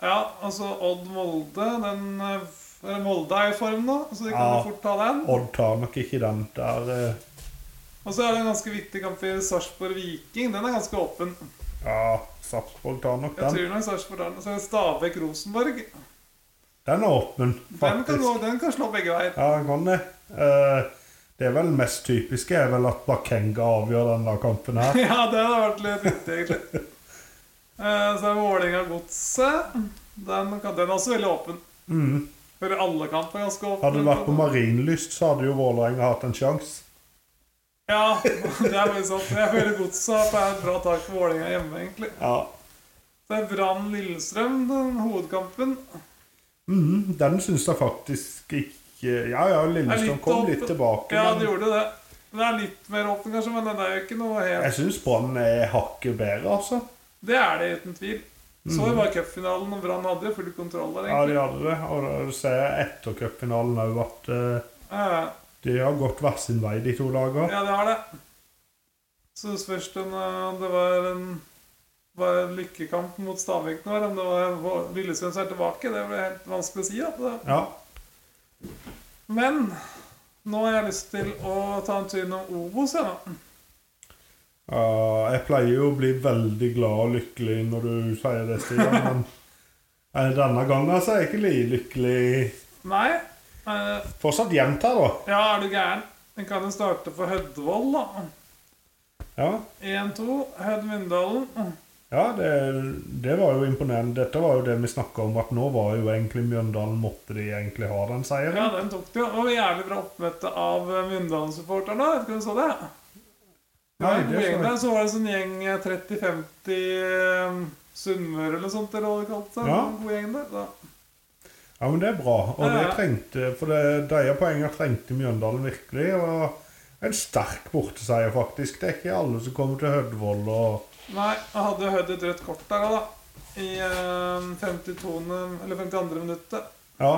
Ja, altså Odd-Molde den eh, f- eller Molde er i form nå, så de kan Ja. jo fort ta den. Odd tar nok ikke den der eh, Og så er det en ganske viktig kamp i Sarpsborg-Viking. Den er ganske åpen. Ja, Sarpsborg tar nok Jeg den. tror nok Sarpsborg tar den. Så er det Stabæk-Rosenborg. Den er åpen, Den, kan faktisk. gå- den kan slå begge veier. Ja, den kan det. Eh, det er vel mest typiske er vel at Bakenga avgjør denne kampen her. Ja, det hadde vært litt vittig, egentlig. Eh, Så er det Vålerenga-Godset. Den, kan- den er også veldig åpen. Mm. Eller alle kamper ganske åpne. Hadde det vært på Marienlyst, så hadde jo Vålerenga hatt en sjanse. Ja, det er veldig sant. Men Jeg føler godset har tatt et bra tak for Vålerenga hjemme, egentlig. Ja. Så er Brann Lillestrøm, den hovedkampen. Mhm, den syns jeg faktisk ikke Ja ja, Det er Lillestrøm litt kom åpen. litt tilbake. Ja, det men gjorde det. Det er litt mer åpen, kanskje, men det er jo ikke noe helt jeg syns Brann er hakket bedre, altså. Det er det uten tvil. Så jo bare cupfinalen, og Brann hadde jo full kontroll der, Ja, de egentlig. hadde det. Og da ser jeg etter cupfinalen òg at eh, Ja, de har gått hver sin vei de to dager. Ja, det har det. Så spørs det om eh, det var en, var en lykkekamp mot Stabæk nå, eller om det var Vå- Lillestrøm som er tilbake. Det blir helt vanskelig å si. Da. Det- Ja. Men nå har jeg lyst til å ta en tur innom Obos. jeg, nå. Ja, jeg pleier jo å bli veldig glad og lykkelig når du sier det, Stian, men eh, denne gangen så er jeg ikke like lykkelig. Nei? eh, Fortsatt jevnt her, da. Ja, er du gæren? Vi kan jo starte for Hødvold, da. Ja, 1-2. Hødd Myndalen. ja det, det var jo imponerende. Dette var jo det vi snakka om, at nå var jo egentlig Mjøndalen Måtte de egentlig ha den Ja, seieren? den tok det. Og jævlig bra oppmøte av eh, Myndalen-supporterne. Vet ikke om du så det? Det var Nei, en det god så gjeng jeg der. Så var det en sånn gjeng eh, 30-50 eh, Sunnmøre eller sånt, eller hva de kalte det. Ja. En god gjeng der. Da. Ja, men det er bra. Og Ja, det ja. trengte For det, de poengene trengte Mjøndalen virkelig. Og en sterk borteseier, faktisk. Det er ikke alle som kommer til Hødvoll og Nei, jeg hadde jo hørt et rødt kort der òg, da. I eh, 52. eller 52. minuttet. Ja.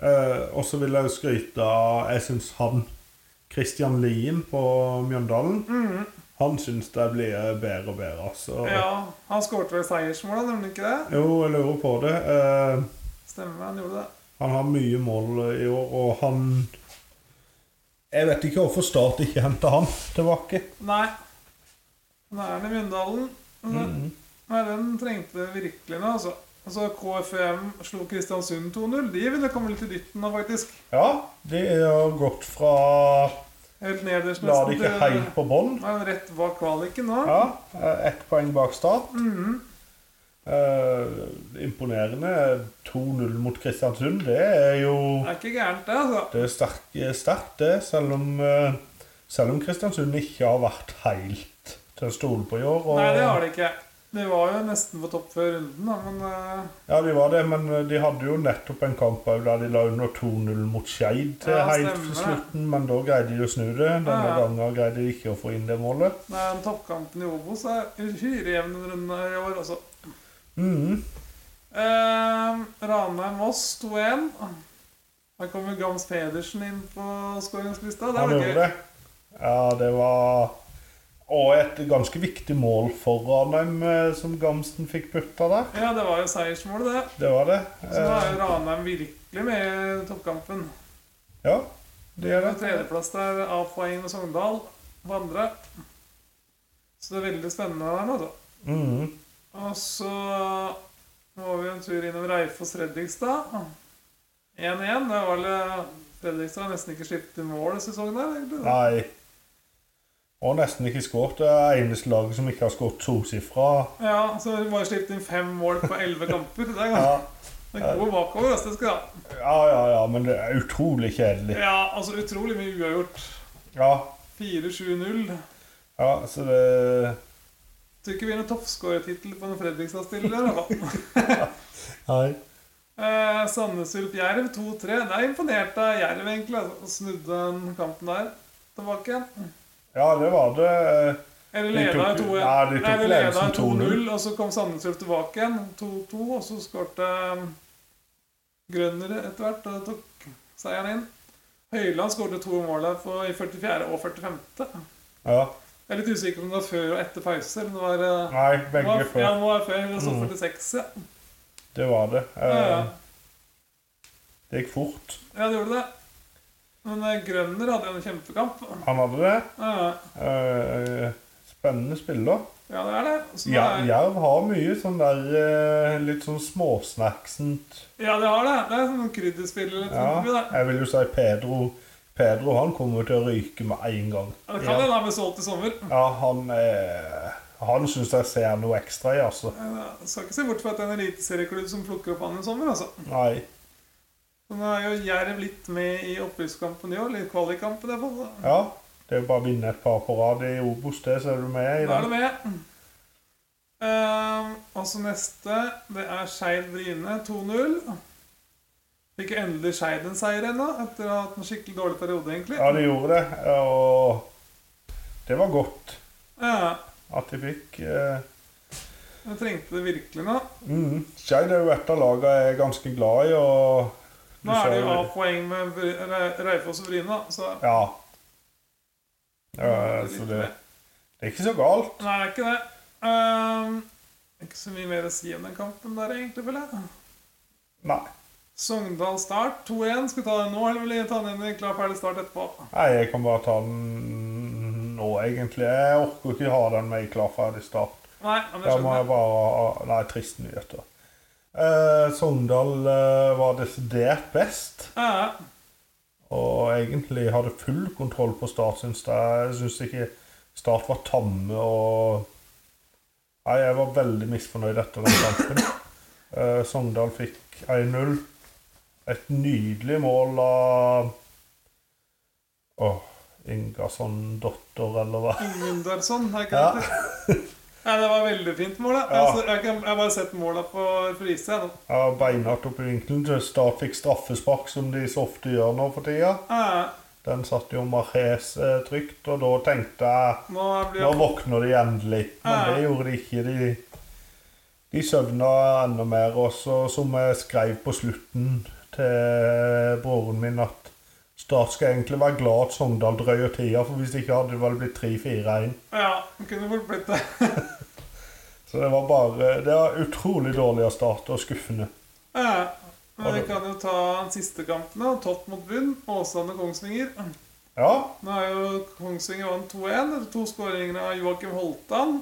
Eh, og så vil jeg jo skryte av Jeg syns han Christian Lien på Mjøndalen Han syns de blir bedre og bedre, altså. Mhm. Ja, han skårte vel seiersmål, han, nemlig ikke det? Jo, jeg lurer på det. Eh, Stemmer, han gjorde det. Han har mye mål i år, og han Jeg vet ikke hvorfor Start ikke henter han tilbake. Nei. Nå er han i Myndalen. Men- Mm. Nei, den trengte det virkelig nå, altså. Altså, KFM slo Kristiansund 2-0. De ville komme litt i dytten nå, faktisk. Ja, det er gått fra Helt nederst La det ikke til- helt på bånn. Nei, rett bak kvaliken nå. Ja, eh, Ett poeng bak Start. Eh, imponerende. 2-0 mot Kristiansund, det er jo Det er ikke gærent, det, altså. Det er sterk- sterkt, det. Selv om, eh, selv om Kristiansund ikke har vært helt til å stole på i år. Og, Nei, det har de ikke. De var jo nesten på topp før runden, da, men eh, Ja, de var det, men eh, de hadde jo nettopp en kamp også der de la under 2-0 mot Skeid til Ja, helt stemmer til det. slutten, men da greide de å snu det. Denne Ja, ja. gangen greide de ikke å få inn det målet. nei, den toppkampen i Obos er uhyre jevn en runde i år, altså. Mhm. Eh, Ranheim-Voss 2-1. Der kommer Gams Pedersen inn på skåringslista. Det Han var gjorde gøy. det. Ja, det var Og et ganske viktig mål for Ranheim eh, som Gamsten fikk putta der. Ja, det var jo seiersmålet, det. Det var det. Så nå er Eh, jo Ranheim virkelig med i toppkampen. Ja, det er På det. tredjeplass der A-poeng med Sogndal på andre. Så det er veldig spennende der nå, da. Mhm. Og så må vi en tur innom Reifoss Fredrikstad. 1-1. Det var vel Fredrikstad har nesten ikke skiftet mål i sesongen der, egentlig. da. Nei. Og nesten ikke skåret. Det er eneste laget som ikke har skåret tosifra. Ja, så har de bare sluppet inn fem mål på elleve kamper. Det er ganske Ja. det er gode bakover. Altså, det skal de ha. ja, ja, ja, men det er utrolig kjedelig. Ja, altså utrolig mye uavgjort. Ja, 4-7-0. ja, så det Tror ikke vi har noen toppskårertittel på noen Fredrikstad-stiller. i hvert fall. Nei. Eh, Sandnes Ulf Jerv 2-3. Det er imponert av Jerv, egentlig. Altså. Snudde den kampen der tilbake igjen. Ja, det var det. Eller De leda tok- 2-1. ja, de tok Nei, de ledelsen leda 2-0, 2-0, og så kom Sandnes Ulf tilbake igjen. 2-2, og så skårte um, Grønner etter hvert. Og det tok seieren inn. Høyland skårte to mål der på, i 44. og 45. Ja. Jeg er litt usikker på om det var før og etter pause. Eller om det var, eh, Nei, det var, begge Ja, før. Mm. det må være før. Det stod 46, ja. Det var det. Eh, Ja, ja. Det gikk fort. ja, det gjorde det. Men eh, Grønner hadde jo en kjempekamp. Han hadde det. Ja, ja. Eh, spennende spiller. Ja, det er det. Så Ja, det er, Jerv har mye sånn der eh, litt sånn småsnacksent ja, det har det. Det er sånn krydderspiller litt Ja, oppi der. jeg vil jo si Pedro. Pedro han kommer til å ryke med en gang. Ja, det kan hende han blir solgt i sommer. Ja, han, eh, han syns jeg ser noe ekstra i, altså. Jeg skal ikke se bort fra at det er en eliteserieklubb som plukker opp han i sommer, altså. Nei. Så Nå er jo Jerv litt med i opprykkskampen i år. Litt kvalikkampen, i hvert fall. så. Ja, det er jo bare å vinne et par på rad i Obos, det, så er du med i Da er den. det med. Ehm, og så neste, det er Skeid Bryne 2-0. Fikk jo endelig Skeid en seier ennå, etter å ha hatt en skikkelig dårlig periode, egentlig. Ja, de gjorde det, og det var godt Ja, at de fikk. Eh, Vi trengte det virkelig nå. mm. Skeid er jo et av lagene jeg er ganske glad i, og Nå er det jo A-poeng med Bry- Re- Raufoss og Bryne, da, så Ja. ja så det, det er ikke så galt. Nei, det er ikke det. Ehm, ikke så mye mer å si om den kampen der, egentlig, føler jeg. Nei. Sogndal Start 2-1. Skal vi ta den nå, eller vil jeg ta den i klar ferdig start etterpå? Nei, jeg kan bare ta den nå, egentlig. Jeg orker ikke ha den med i klar ferdig start. Nei, men det Da må jeg skjønner jeg. bare ha- Nei, trist nyheter. Eh, Sogndal eh, var desidert best, Ja, og egentlig hadde full kontroll på Start, syns jeg. Jeg syns ikke Start var tamme og Nei, jeg var veldig misfornøyd etter den kampen. Eh, Sogndal fikk 1-0. Et nydelig mål av Åh, Ingasson-dotter, eller hva? Mundarsson, er ikke Ja. det? Nei, det var veldig fint mål. da. Ja. Altså, jeg, kan, jeg har bare sett måla på reprise. jeg, nå. Ja, beinhardt opp i vinkelen. Start fikk straffespark, som de så ofte gjør nå for tida. Ja, Den satt jo Marez eh, trygt, og da tenkte jeg nå blir Nå jeg våkner de endelig. Men Ja. det gjorde de ikke. De, de søvna enda mer. Og så, som jeg skrev på slutten til broren min, at Start skal egentlig være glad at Sogndal drøyer tida, for hvis ikke hadde det vel blitt 3-4-1. Ja, det kunne fort blitt det. Så det var bare Det var utrolig dårlig av Start, og skuffende. Ja. Men Og vi det- kan jo ta den siste kampen. da. Tott mot bunn. Åsane og Kongsvinger. Ja, Nå er jo Kongsvinger vant 2-1 etter to skåringer av Joakim Holtan.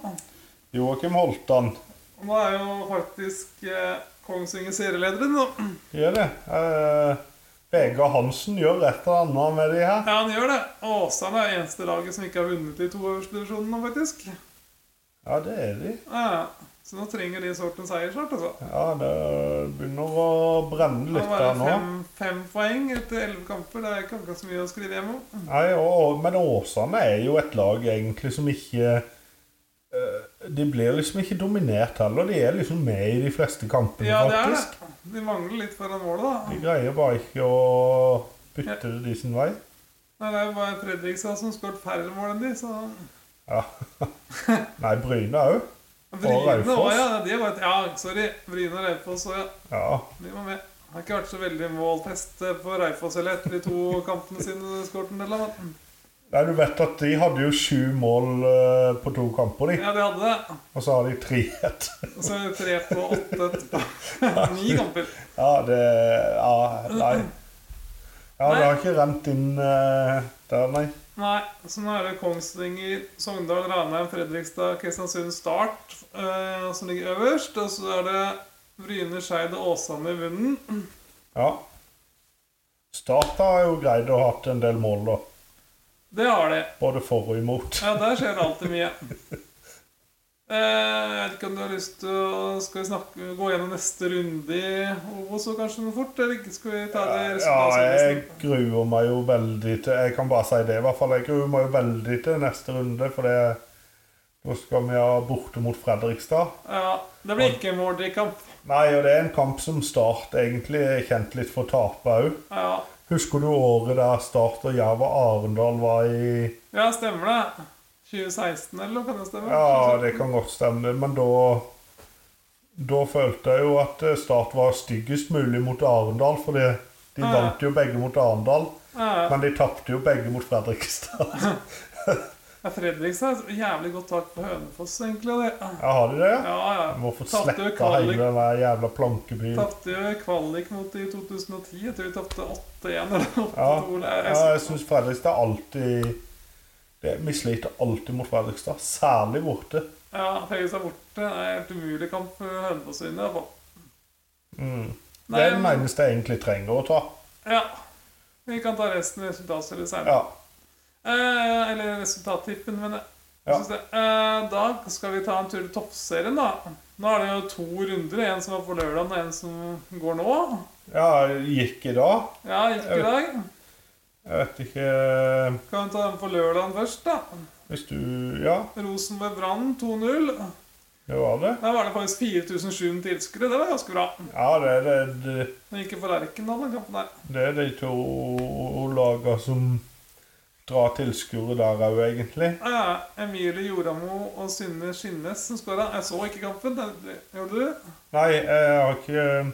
Joakim Holtan. Og Nå er jo faktisk eh, Kongsvinger serielederen. nå. Gjør det. Eh, Vegard Hansen gjør et eller annet med de her. Ja, han gjør det. Åsane er eneste laget som ikke har vunnet de to øverste divisjonene, nå, faktisk. Ja, det er de. Ja, så nå trenger de sort en seier snart, altså. Ja, Det begynner å brenne Det litt var der nå. fem, fem poeng etter elleve kamper. Det er ikke akkurat så mye å skrive hjem om. Nei, og, Men Åsane er jo et lag egentlig som ikke eh, De blir liksom ikke dominert heller. De er liksom med i de fleste kampene, Ja, det er faktisk. det. De mangler litt foran målet, De da. greier bare ikke å bytte det de sin vei. Nei, det er jo bare Fredrikstad som skåret færre mål enn de, så Ja. Nei, Bryne òg. Bryne Raufoss. òg, ja. De var et... Ja, sorry. Bryne og Raufoss òg, ja. Ja. De var med. Har ikke vært så veldig målfest på Raufoss heller etter de to kampene sine. skåret en del, da. Nei, du vet at de hadde jo sju mål eh, på to kamper, de. Ja, de hadde det. Og så har de tre etter. Og så tre på åtte etterpå. Ni kamper. Ja, det Ja, nei. Ja, det har ikke rent inn eh, der, nei. Nei, så nå er det Kongsvinger, Sogndal, Ranheim, Fredrikstad, Kristiansund, Start eh, som ligger øverst. Og så er det Bryne, Skeid og Åsane i bunnen. Ja. Start har jo greid å ha hatt en del mål, da. Det har de. Både for og imot. Ja, der skjer det alltid mye. Eh, jeg vet ikke om du har lyst til å Skal vi snakke, gå gjennom neste runde i Obos og kanskje noe fort? Eller ikke? skal vi ta det liksom Ja, jeg resultatet? gruer meg jo veldig til Jeg kan bare si det, i hvert fall. Jeg gruer meg jo veldig til neste runde, for det Nå skal vi ha borte mot Fredrikstad. Ja, det blir ikke Mordrik-kamp. Nei, og det er en kamp som Start egentlig er kjent litt for å tape òg. Ja. Husker du året der Start og Jerv og Arendal var i ja, stemmer det? 2016, eller noe? Kan det stemme? Ja, det kan godt stemme, men da Da følte jeg jo at eh, Start var styggest mulig mot Arendal, for de Ja. vant jo begge mot Arendal, Ja. men de tapte jo begge mot Fredrikstad. Ja, Fredrikstad har et jævlig godt tak på Hønefoss, egentlig. og Det. Ja, har de det? Ja, ja. Jeg må få Tapte jo sletta kvalik. hele den der jævla plankebyen. Tapte jo kvalik mot de i 2010. Jeg tror vi tapte 8-1 eller 8-2. Ja. eller- jeg- Ja, jeg syns Fredrikstad alltid det, Vi sliter alltid mot Fredrikstad, særlig borte. ja, Fredrikstad borte. Det er helt umulig kamp for Hønefoss å vinne. i hvert fall. Mm. Det Nei, er den men- eneste jeg egentlig trenger å ta. Ja. Vi kan ta resten i resultatstudioet senere. Ja. Eh, eller resultattippen, men Ja. Synes det. Eh, da skal vi ta en tur til toppserien, da. Nå er det jo to runder. En som var på lørdag, og en som går nå. Ja, gikk i dag. Ja, gikk i dag. Jeg vet ikke eh, Kan vi ta den på lørdagen først, da? Hvis du Ja, Rosenborg-Brann 2-0. det var det. Der var det faktisk 4700 tilskuere. Det var ganske bra. Ja, det er det, det, Den gikk jo for Lerkendal, den kampen der. det er de to lagene som drar tilskuere der òg, egentlig. Ja, ja. Emilie Joramo og Synne Skinnes som skåra. Jeg så ikke kampen. Det- det- Gjorde du? Nei, jeg har ikke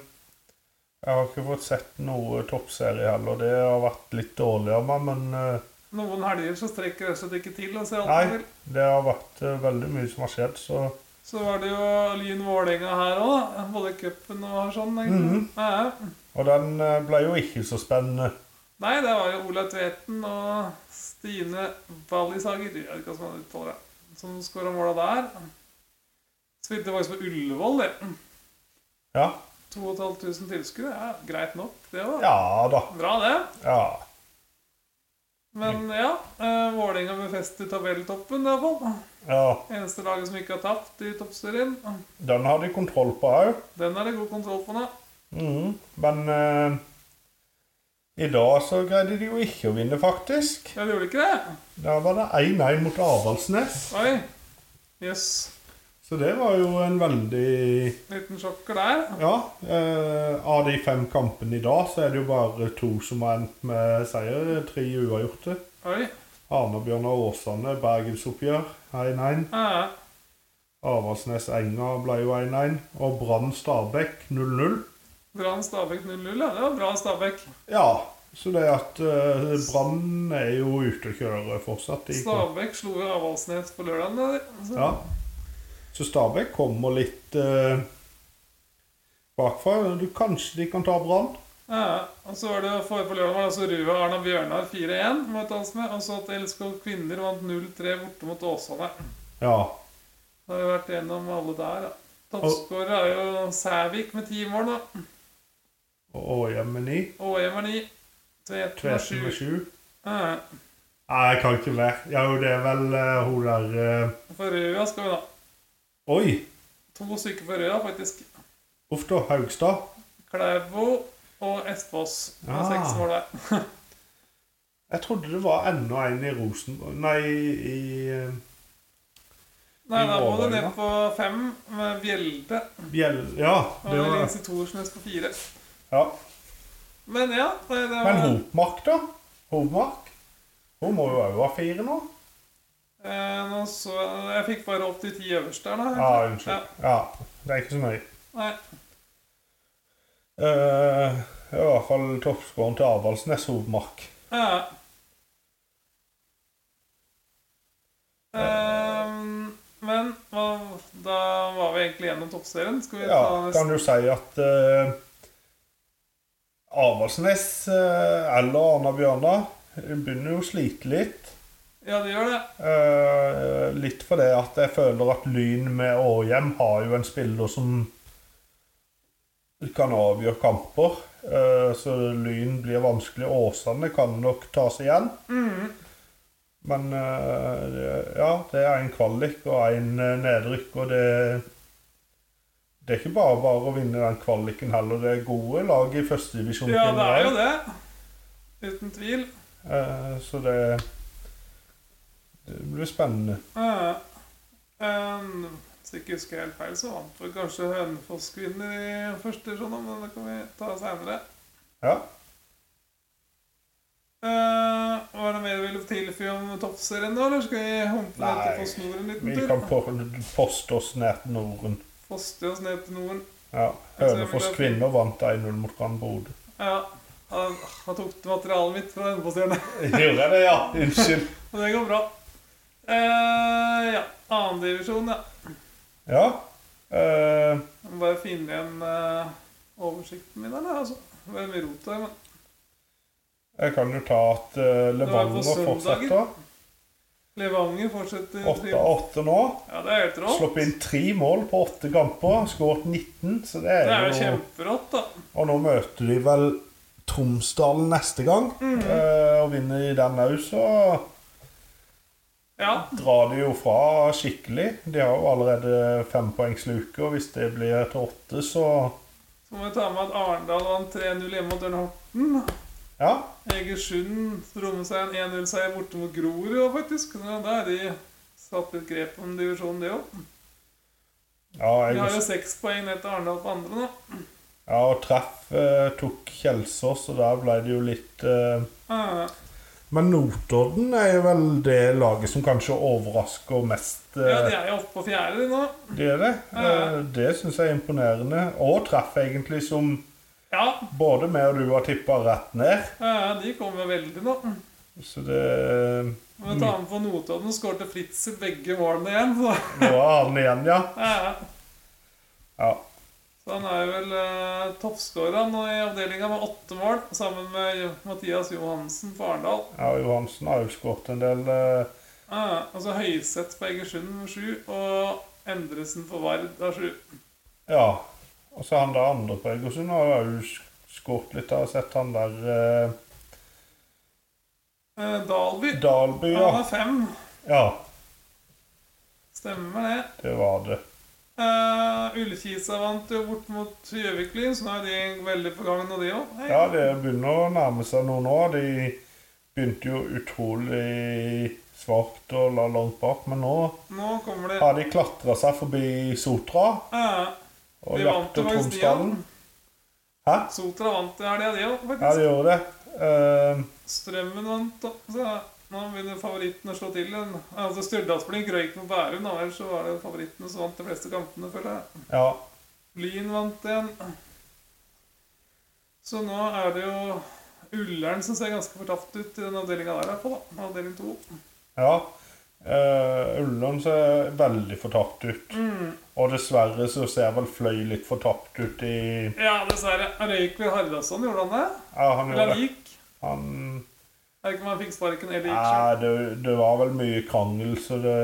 Jeg har ikke fått sett noe toppserie heller. Det har vært litt dårlig av meg, men eh, Noen helger så strekker rett og slett ikke til. altså, Og ser alt Nei, til. det har vært eh, veldig mye som har skjedd, så Så var det jo Lyn Vålerenga her òg, da. Både cupen og sånn. Mhm. egentlig. ja, ja. Og den eh, ble jo ikke så spennende. Nei, det var jo Ola Tveten og Stine Ballisager jeg vet ikke hva som han uttaler det, som skåra måla der. Spilte faktisk på Ullevål, det. Ja. 2500 tilskuere. Ja, greit nok, det var Ja da. bra, det. Ja. Men ja, eh, Vålerenga befester tabelltoppen, iallfall. ja. Eneste laget som ikke har tapt i toppserien. Den har de kontroll på òg. Den er det god kontroll på nå. Mhm. Men eh, i dag så greide de jo ikke å vinne, faktisk. Ja, det gjorde ikke det? Der var det 1-1 mot Avaldsnes. Oi. Jøss. Yes. Så det var jo en veldig Liten sjokker der. Ja. Eh, av de fem kampene i dag, så er det jo bare to som har endt med seier. Tre uavgjorte. Oi. Arne-Bjørnar Aasane, bergensoppgjør 1-1. Ja, Avaldsnes-Enga ble jo 1-1. Og Brann-Stabæk 0-0. Brann Stabæk 0-0, ja. Det var bra Stabæk. Ja, så det at eh, Brann er jo ute å kjøre fortsatt. i kom- Stabæk slo jo Avaldsnes på lørdag. ja. Så Stabæk kommer litt eh, bakfra. Du, kanskje de kan ta Brann? ja. Og så var det jo forrige på lørdag var det altså Røa Arna Bjørnar 4-1. må jeg ta oss med, Og så at Elskov Kvinner vant 0-3 borte mot Åsane. Ja. Da har vi vært gjennom alle der, ja. Toppskårer er jo Sævik med ti mål, da. Og Åhjem med ni. Åhjem er ni. Tveten er Tvesen med sju. Eh, sju. Ja. Nei, jeg kan ikke mer. Ja, jo, det er vel eh, hun der eh, For Røa skal vi da. Oi! To stykker for Røa, faktisk. Uff da, Haugstad. Klæbo og Espås. Det var Ah. seks mål der. Jeg trodde det var enda en i Rosenborg Nei, i eh, Nei, I da må du Vålerenga. ned på fem med Bjelde. Bjell... Ja, Og det var Elise Thorsnes på fire. ja. Men ja, det, det var Men Hopmark, da? Hopmark? Hun må jo òg ha fire nå? eh, nå så, Jeg fikk bare opp de ti øverste her, da. Ja, Ah, unnskyld. Ja, det er ikke så nøye. Ja, nei. Eh, det er I hvert fall toppskåren til Avaldsnes Hopmark. Ja. Ehm, men hva- da var vi egentlig gjennom toppserien. Skal vi ta Ja, neste? kan du si at eh, Avaldsnes eh, eller Arna Bjørnar begynner jo å slite litt. Ja, det gjør det. Eh, litt fordi at jeg føler at Lyn med Århjem har jo en spiller som kan avgjøre kamper. Eh, så Lyn blir vanskelig. Åsane kan nok tas igjen. Mm. Men eh, det- ja, det er en kvalik og en eh, nedrykk, og det det er ikke bare bare å vinne den kvaliken heller. Det er gode lag i førstedivisjon. Ja, det er jo det. Uten tvil. Eh, så det, det blir spennende. Ja. Ehm, hvis jeg ikke husker helt feil, så vant vel kanskje Hønefoss-kvinner i første sånn, men det kan vi ta seinere. Ja. Ehm, hva er det mer du vil tilføye om toppserien, da? Eller skal vi humpe ned til Nei, Fossnord en liten Vi tur? kan po- poste oss ned til Norden. Foste oss ned til Norden. Ja. Hønefoss Altså, jeg kvinner vant 1-0 mot Brann Bodø. Ja. Han han tok du materialet mitt fra Hønefoss-stjerna. Gjør jeg det, ja? Unnskyld. Men det går bra. Uh, ja. Annendivisjon, ja. Ja. Eh, Jeg må bare finne igjen eh, oversikten min, eller? Altså. Det er mye rot her, men jeg kan jo ta at eh, Levanger søndagen. fortsetter. Levanger fortsetter 8-8 nå. Ja, det er helt rått. Sluppet inn tre mål på åtte kamper. Skåret 19, så det Det er er jo jo kjemperått, da. Og nå møter de vel Mm. Tromsdalen neste gang. eh, og vinner de den òg, så Ja. drar de jo fra skikkelig. De har jo allerede fempoengsluke, og hvis det blir til åtte, så Så må vi ta med at Arendal vant 3-0 hjemme mot Ørn Horten. ja. Egersund dro med seg en 1-0-seier borte mot Grorud òg, faktisk. Så da er de satt litt grep om divisjonen, det òg. Ja, De har jo jeg, seks poeng ned til Arendal på andre nå. ja og treff eh, tok Kjelsås, og der ble det jo litt eh, Ah, Men Notodden er jo vel det laget som kanskje overrasker mest. eh, Ja, de er jo oppe på fjerde de nå. Det er det. Ja. Eh, Det syns jeg er imponerende. Og treff, egentlig, som Ja, både meg og du har tippa rett ned. eh, de kommer veldig nå. Så det Men ta med på Notodden skårte Fritz i begge målene igjen. Så. Nå er han igjen, ja. eh, ja. så han er vel eh, toppskårer nå i avdelinga med åtte mål, sammen med Mathias Johansen på Arendal. Ja, Johansen har jo skåret en del. eh, Ah, altså Høyseth på Egersund med sju, og Endresen på Vard har sju. Ja. Og så han der andre på Egersund har jo skåret litt. Jeg har sett han der eh, Eh, Dalby Dalby, han ja. har fem. Ja, Stemmer det. det var det. Eh, Ullkisa vant jo bort mot Gjøvik-Lyn, så nå er de veldig på gang nå, de òg. Ja, det begynner å nærme seg noe nå. De begynte jo utrolig svakt og la langt bak, men nå Nå kommer det har de klatra seg forbi Sotra Eh, og De vant jakter jo faktisk, de, Tromsdalen. Hæ? Sotra vant i helga, de òg, Ja, faktisk. de gjorde det. Eh, Strømmen vant, da. Så nå begynner favorittene å slå til. igjen. Altså Stjørdalsblink røyk på Bærum, da vel, så var det favorittene som vant de fleste kampene, føler jeg. ja. Lyn vant igjen. Så nå er det jo Ullern som ser ganske fortapt ut i den avdelinga der, på, da. Avdeling to. ja. Uh, Ullern ser veldig fortapt ut. Og dessverre så ser vel Fløy litt fortapt ut i Ja, dessverre. Røyk ved Hardasson, gjorde han det? Ja, han gjorde Eller det. gikk? Han Jeg vet ikke om han fikk sparken eller gikk selv. Nei, det, det var vel mye krangel, så det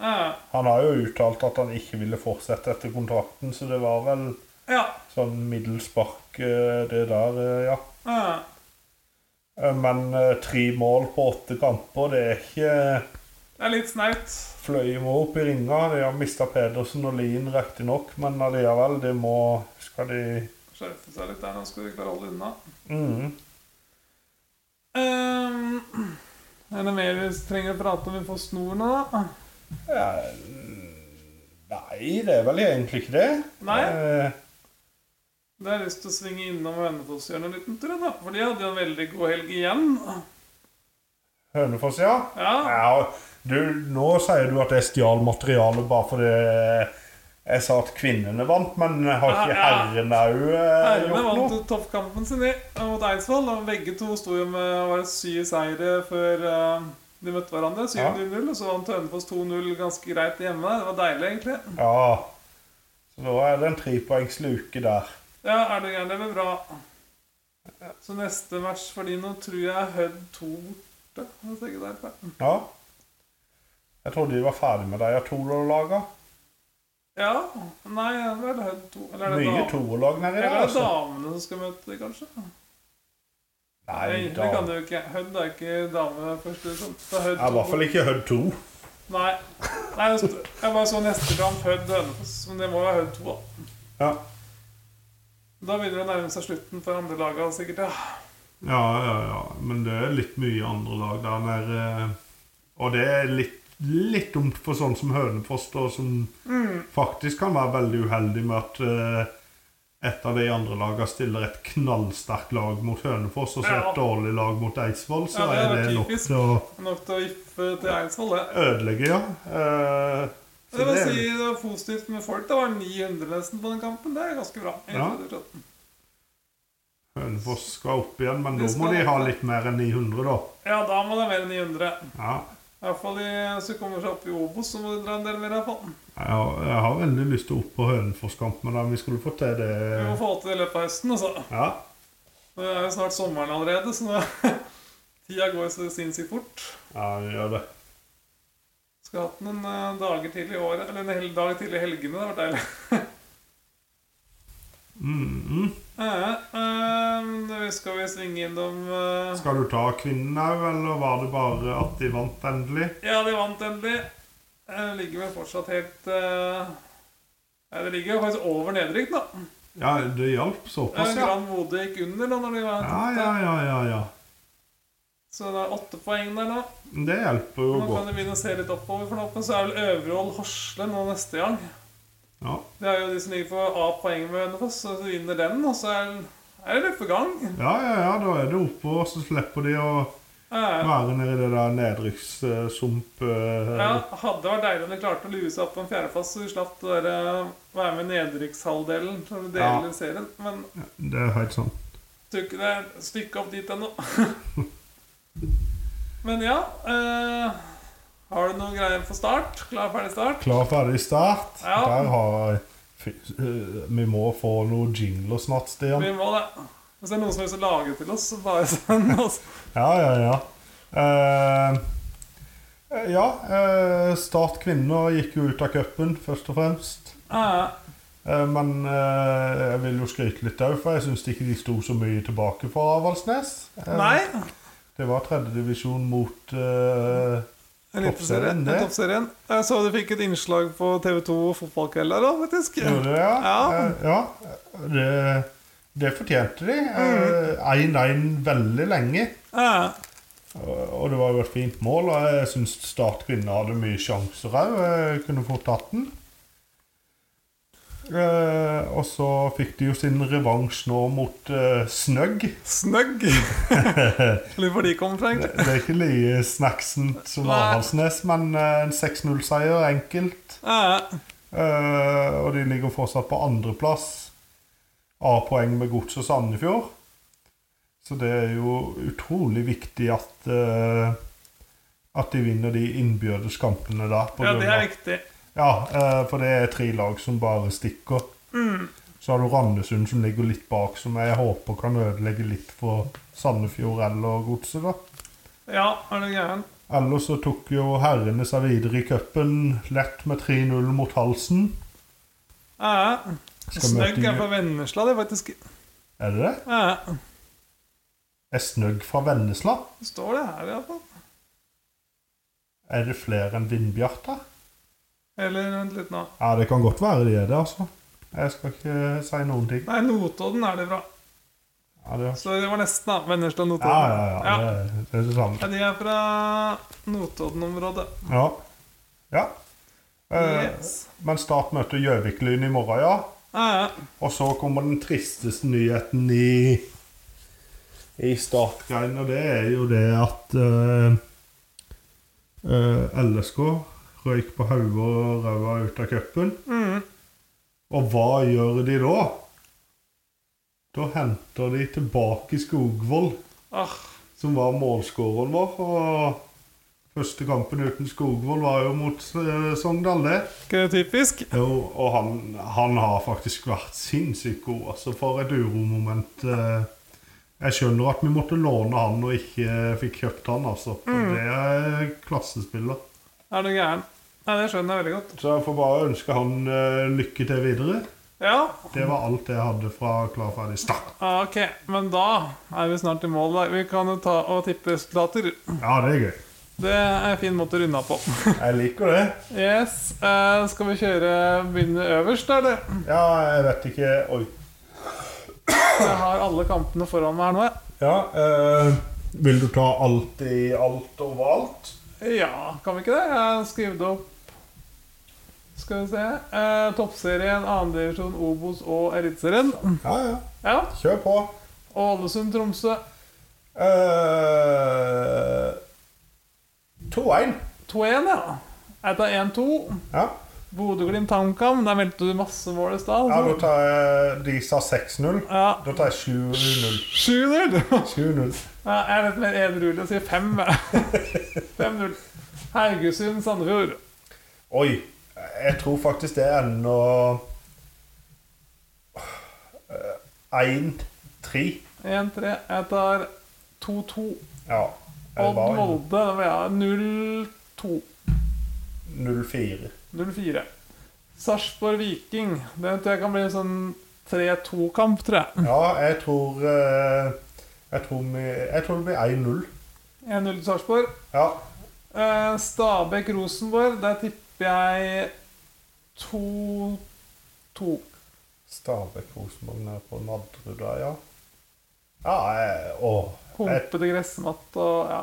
Ja. Han har jo uttalt at han ikke ville fortsette etter kontrakten, så det var vel ja. sånn middels spark, eh, det der, eh, ja. ja. Eh, Men eh, tre mål på åtte kamper, det er ikke Det er litt snaut. fløy må opp i ringa. De har mista Pedersen og Lien riktignok, men allikevel, det må Skal de Skjerpe seg litt der, nå skal de klare å holde unna. mm. Ehm, er det mer vi trenger å prate om? Vi får snor nå, da. ja, Eh, Nei, det er vel egentlig ikke det. Nei. Eh, Da har jeg lyst til å svinge innom Hønefoss-hjørnet en liten tur, da. For de hadde jo en veldig god helg igjen. Hønefoss, ja. Ja. Ja, du, nå sier du at jeg stjal materialet bare fordi jeg sa at kvinnene vant, men har ikke Ja, ja. herrene òg eh, Herrene gjort vant noe? jo toppkampen sin i, mot Eidsvoll. Og begge to sto jo med var det syv seire før eh, de møtte hverandre. 7-0, og så vant Hønefoss 2-0 ganske greit hjemme. Det var deilig, egentlig. Ja. Så da er det en trepoengsluke der. Ja, er du gæren? Det blir bra. Så neste match for de nå tror jeg er Hødd 2 borte. hvis jeg ikke tar feil. Ja. Jeg trodde de var ferdig med de Atolo-laga. Ja. Nei, det er Hødd 2. Eller er det, Mye dam- toerlag nedi der. eller er det Altså. damene som skal møte dem, kanskje? Nei, Nei det da. kan du jo ikke. Hødd er ikke dame først. Liksom. Det er Hødd Ja, I hvert fall ikke Hødd 2. Nei. Nei det sto- jeg bare så neste kamp Hødd Hønefoss, men det må jo være Hødd 2. Da. Ja. da begynner det å nærme seg slutten for andre laga sikkert. Ja. Ja, ja, ja. Men det er litt mye andre lag der nede. Og det er litt, litt dumt for sånn som Hønefoss, da, som Mm. faktisk kan være veldig uheldig med at eh, et av de andre lagene stiller et knallsterkt lag mot Hønefoss, og så Ja. et dårlig lag mot Eidsvoll, så Ja, det er er det nok typisk. til å Nok til å vippe til Eidsvoll, det. ødelegge, ja. Eh, så Det, vil det er- si, det var positivt med folk. Det var 900 nesten på den kampen. Det er ganske bra. i Ja. 2013. Hønefoss skal opp igjen, men De nå må skal de ha opp. litt mer enn 900, da. ja, da må det være 900. Ja. I hvert fall de som kommer seg opp i Obos, så må de dra en del mer. i hvert fall. Jeg har, jeg har veldig lyst til å opp på Hønefoss-kamp, men da vi skulle få til det Vi må få til det i løpet av høsten, altså. Ja, Det er jo snart sommeren allerede, så nå tida går så sinnssykt fort. ja vi gjør det. Skulle hatt noen eh, dager til i året, eller en hel dag til i helgene. Det hadde vært deilig. Mm, mm. Eh, eh, skal vi svinge innom eh, Skal du ta kvinnen òg, eller var det bare at de vant endelig? Ja, de vant endelig. Eh, ligger vel fortsatt helt eh, Ja, det ligger jo faktisk over nedrykk, da. Ja, det hjalp Eh, såpass, ja. Grand Mode gikk under da når de vant. Ja, ja, ja, ja, ja. Så det er åtte poeng der nå. Det hjelper jo Nå kan godt. du begynne å se litt oppover, for nå så er vel Øvrehold Horsle nå neste gang. Ja. Det er jo de som ligger på A-poeng med Hønefoss, så vinner den, og så er, er det løpegang. ja, ja, ja, da er det oppe, og så slipper de å Eh, være nede i det der nedrykkssump... eh, ja, hadde vært deilig om de klarte å lue seg opp på en fjerdeplass, så de slapp det der, eh, være med i nedrykkshalvdelen når du Ja. deler serien. Men Det er helt sant. tror ikke det er et stykke opp dit ennå. Men ja eh, Har du noen greier for start? Klar, ferdig, start? Klar, ferdig, start. Ja. Der har jeg Fy, eh, Vi må få noen jingler snart, Stian. Vi må det. Hvis det er noen som har lyst til å lage til oss, så bare send oss. Ja, ja, ja. Eh, ja, eh, Start kvinner gikk jo ut av cupen, først og fremst. Eh, Eh, men eh, jeg vil jo skryte litt òg, for jeg syns ikke de sto så mye tilbake for Avaldsnes. Eh, nei. Det var tredjedivisjon mot eh, Eliteserien. Toppserien, det. Toppserien. Jeg så du fikk et innslag på TV2 Fotballkveld der òg, faktisk. Gjorde det, ja. Ja. Eh, ja. Det, det fortjente de. Eh, 1-1 veldig lenge. Ja. Eh, Og det var jo et fint mål, og jeg syns Start kvinner hadde mye sjanser òg. Kunne fort tatt den. Eh, og så fikk de jo sin revansj nå mot eh, Snøgg. Snøgg. Lurer på hvor de kommer fra, Det egentlig. er ikke like snacksen som Nei. Avaldsnes, men eh, en 6-0-seier enkelt. Ja. Eh, og de ligger fortsatt på andreplass. A-poeng med Gods og Sandefjord. Så det er jo utrolig viktig at eh, at de vinner de innbyrdes kampene da. på ja, grunn det av- er viktig. ja, eh, for det er tre lag som bare stikker. Mm. Så har du Randesund som ligger litt bak, som jeg håper kan ødelegge litt for Sandefjord eller Godset, da. Ja, er du gæren? Ellers så tok jo herrene seg videre i cupen lett med 3-0 mot Halsen. Ja. Skal Eh, Snøgg møte- er fra Vennesla, det, er faktisk. Eh, Er det det? Ja. er snøgg fra Vennesla. Det står det her, iallfall. Er det flere enn Vindbjarta? Eller vent litt nå. Ja, det kan godt være de er det, altså. Jeg skal ikke si noen ting. Nei, Notodden er det fra. Ja, det, Så det var nesten, da. Vennesla ja, og Notodden. ja, ja, Ja. Det, det er det samme. Ja, de er fra Notodden-området. Ja. ja. Eh, Yes. men Start møter Gjøvik-Lyn i morgen, ja. Ja, Og så kommer den tristeste nyheten i i Start-greiene, og det er jo det at eh, eh, LSK røyk på hodet og ræva ut av cupen. Mhm. Og hva gjør de da? Da henter de tilbake Skogvold, Ah, som var målskåreren vår. Og første kampen uten Skogvold var jo mot eh, Sogndal, det. ikke det typisk? Jo, og han, han har faktisk vært sinnssykt god. Altså, for et uromoment. eh. Jeg skjønner at vi måtte låne han og ikke eh, fikk kjøpt han, altså. For det er klassespiller. Er du gæren? Nei, det skjønner jeg veldig godt. Så jeg får bare ønske han eh, lykke til videre. Ja, Det var alt jeg hadde fra Klar, ferdig, start. ah, ok. Men da er vi snart i mål. da. Vi kan jo ta og tippe resultater. Ja, det er gøy. Det er en fin måte å runde av på. Jeg liker det. Yes, eh, Skal vi kjøre begynne øverst, eller? Ja, jeg vet ikke Oi. Jeg har alle kampene foran meg her nå. jeg. Ja, eh, vil du ta alt i alt og alt? Ja, kan vi ikke det? Jeg skriver det opp. Skal vi se eh, Toppserien, 2. divisjon, Obos og Eliteserien. Ja, ja. Ja. Kjør på. Og Ålesund-Tromsø Eh, 2-1. 2-1, ja. Jeg tar 1-2. Ja. Bodø-Glimt HamKam. Der meldte du masse mål i stad. ja, da altså. tar jeg De sa 6-0. Ja, Da tar jeg 7-0. 7-0! 7-0. Ja, jeg er litt mer edruelig og sier 5. jeg. 5-0. Haugesund-Sandefjord. Oi. Jeg tror faktisk det er ennå Eh, 1-3. 1-3. Jeg tar 2-2. Ja. jeg Odd var inne. Molde. Da vil jeg ha 0-2. 0-4. 0-4. Sarpsborg Viking. Den tror jeg kan bli en sånn 3-2-kamp, tror jeg. Ja, jeg tror eh, Jeg tror, vi, jeg tror det blir 1-0. 1-0 til Sarpsborg. Ja. Eh, Stabæk-Rosenborg, der tipper jeg 2-2. Stabæk Rosenborg nede på Nadderud der, ja. Ja, jeg, å, jeg, Humpete gressmatt og ja.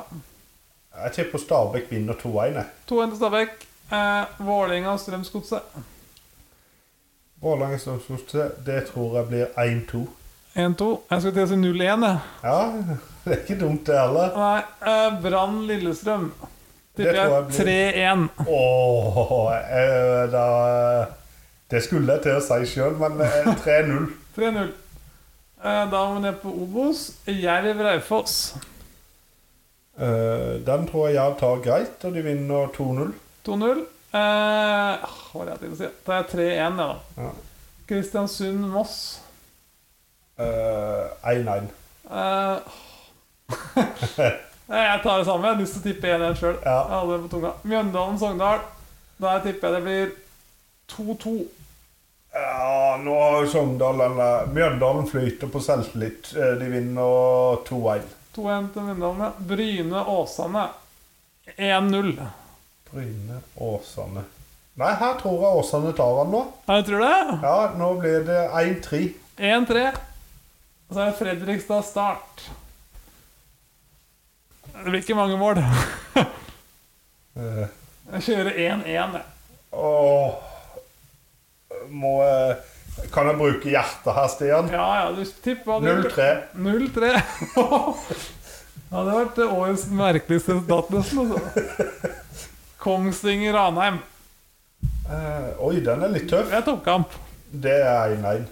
jeg tipper Stabæk vinner 2-1. jeg. 2-1 til Stabæk. Eh, Vålerenga og Strømsgodset. Vålerenga Strømsgodset, det tror jeg blir 1-2. 1-2. Jeg skulle til å si 0-1, jeg. Ja, det er ikke dumt, det heller. Nei, eh, Brann Lillestrøm. Det Tipper jeg tror jeg 3-1. Åh, jeg, da Det skulle jeg til å si sjøl, men eh, 3-0. 3-0. Eh, Da må vi ned på Obos. Jerv Raufoss. Eh, den tror jeg Jerv tar greit, og de vinner 2-0. 2-0. Eh, ah, hva var det jeg til å si? Det er 3-1, ja. da. Ja. Kristiansund Moss. Eh, 1-1. Eh, Nei, jeg tar det samme. Jeg har lyst til å tippe 1-1 sjøl. Ja. Mjøndalen Sogndal. Der tipper jeg det blir 2-2. Ja, nå har Sogndal eller Mjøndalen flyter på selvtillit. Eh, De vinner 2-1. 2-1 til Mjøndalen. ja. Bryne Åsane 1-0. Bryne, Åsane Nei, her tror jeg Åsane tar han nå. Ja, jeg tror det. Ja, nå blir det 1-3. 1-3. Og så er det Fredrikstad Start. Det blir ikke mange mål. Eh, Jeg kjører 1-1. jeg. Åh Må jeg Kan jeg bruke hjertet her, Stian? Ja, ja, du tipper hva du 0-3. 0-3. Ja, det hadde vært årets merkeligste resultat, nesten. altså. Kongsvinger-Ranheim. Eh, oi, den er litt tøff. Det er toppkamp. Det er 1-1. Eh,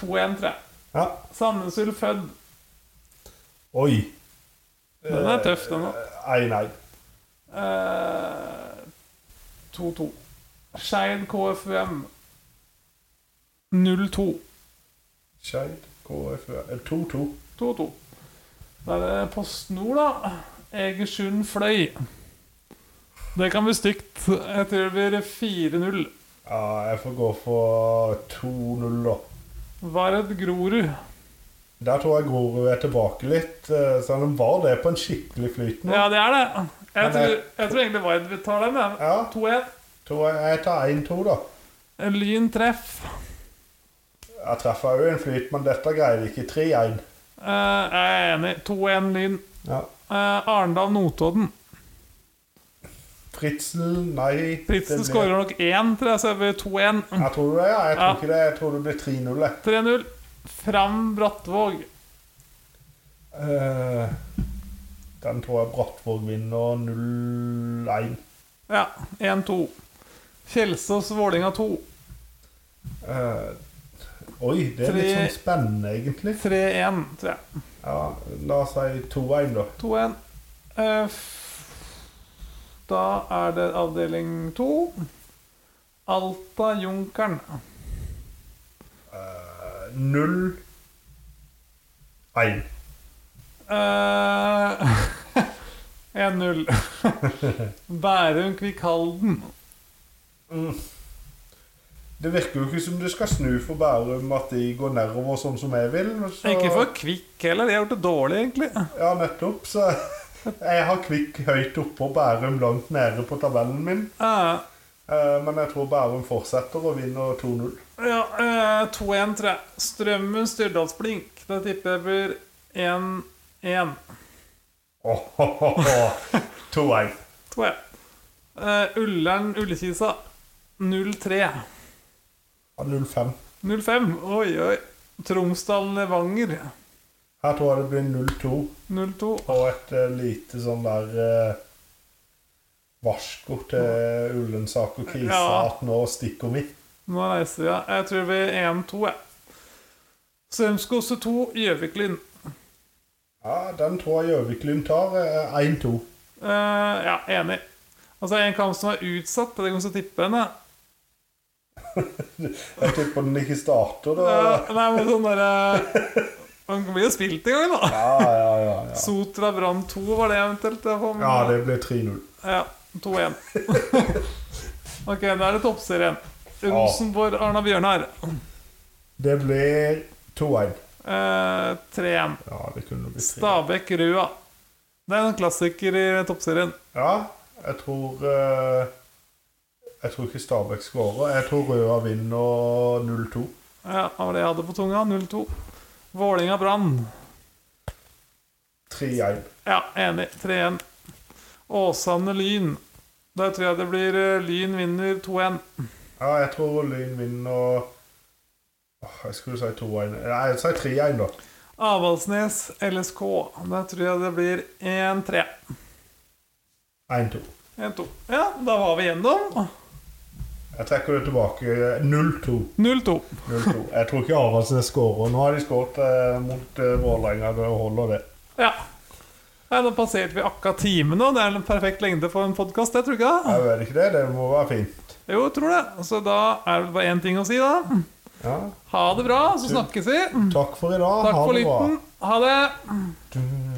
2-1, tror jeg. Ja. Sandnes Ulfødd. Oi. Den er tøff, den òg. 1-1. Eh, 2-2. Skeid KFUM 0-2. Skeid KFU eller 2-2. 2-2. Da er det Post Nord, da. Egersund Fløy. Det kan bli stygt. Jeg tror det blir 4-0. Ja, jeg får gå for 2-0, da. Vard Grorud. Der tror jeg Grorud er tilbake litt, eh, så han var det på en skikkelig flyt nå. Ja, det er det. Jeg Men det- tror, jeg tror egentlig Vard tar den. jeg. Ja. 2-1. Tror jeg, jeg tar 1-2, da. Lyn treff. Jeg treffer òg en flyt, men dette greier vi ikke. 3-1. Eh, jeg er enig. 2-1 Lyn. Ja. Eh, Arendal-Notodden. Fritzel, nei Fritsen det blir- skårer nok én, tror jeg, så det blir 2-1. Jeg tror det, ja. Jeg tror Ja. ikke det. Jeg tror det blir 3-0. jeg. 3-0. Fram Brattvåg. Eh, den tror jeg Brattvåg vinner 0-1. Ja, 1-2. Kjelsås Vålinga 2. Eh, oi, det er litt Tre- sånn spennende, egentlig. 3-1, tror jeg. Ja, La oss si 2-1, da. 2-1. Eh, f- Da er det avdeling 2. Alta Junkeren. Eh, 0-1. Eh, 1-0. Bærum Kvikk Halden. Det virker jo ikke som det skal snu for Bærum at de går nedover sånn som jeg vil. Så, Ikke for Kvikk heller. De har gjort det dårlig, egentlig. Ja, nettopp. Så jeg har Kvikk høyt oppe og Bærum langt nede på tabellen min. Eh, Eh, Men jeg tror Bærum fortsetter og vinner 2-0. Ja, eh, 2-1, tror jeg. Strømmen Styrdalsblink. Da tipper jeg blir 1-1, Åh, hå, hå, hå. 2-1. tror jeg. Eh, Ullern Ullekisa 0-3. Ja, 0-5. 0-5. Oi, oi. Tromsdalen Levanger Her tror jeg det blir 0-2 0-2. og et eh, lite sånn der eh, varsko til Ullensaker Kisa Ja. at nå stikker vi. Nå reiser vi. ja. Jeg tror det blir 1-2, jeg. Strømsgodset 2, Gjøviklyn. Ja, den tror jeg Gjøvik-Lyn tar. eh, 1-2. Eh, ja, enig. Altså, en kamp som er utsatt. Det kommer til å tippe henne. Jeg tipper den ikke starter, da. Uh, nei, men sånn derre Man blir jo spilt i gang, da. Ja, ja, ja. Ja, Sotra Brann 2 var det eventuelt? Jeg får med ja meg. det blir 3-0. ja, 2-1. ok, da er det toppserien. Rosenborg, Arna Bjørnar. Det blir 2-1. Eh, 3-1. Ja, det kunne blitt tre. Stabæk Rua. Det er en klassiker i toppserien. Ja, jeg tror eh, Jeg tror ikke Stabæk skårer. Jeg tror Røa vinner 0-2. Ja, det var det jeg hadde på tunga. 0-2. Vålinga Brann. 3-1. Ja, enig. 3-1. Åsane Lyn. Der tror jeg det blir eh, Lyn vinner 2-1. Ja, jeg tror Lyn vinner Åh, Jeg skulle si 2-1. Nei, jeg sier 3-1, da. Avaldsnes LSK. Der tror jeg det blir 1-3. 1-2. 1-2. Ja, da var vi gjennom. Jeg trekker det tilbake. 0-2. 0-2. 0-2. Jeg tror ikke Avaldsnes skårer. Nå har de skåret eh, mot eh, Vålerenga. Det holder, det. Ja. Nei, nå passerte vi akkurat timen, og det er en perfekt lengde for en podkast, det tror du ikke? det? Jeg vet ikke det. Det må være fint. Jo, jeg tror det. Så da er det bare én ting å si, da. Ja. Ha det bra, så snakkes vi. Takk for i dag. Takk ha for det bra. lytten. Ha det. Du-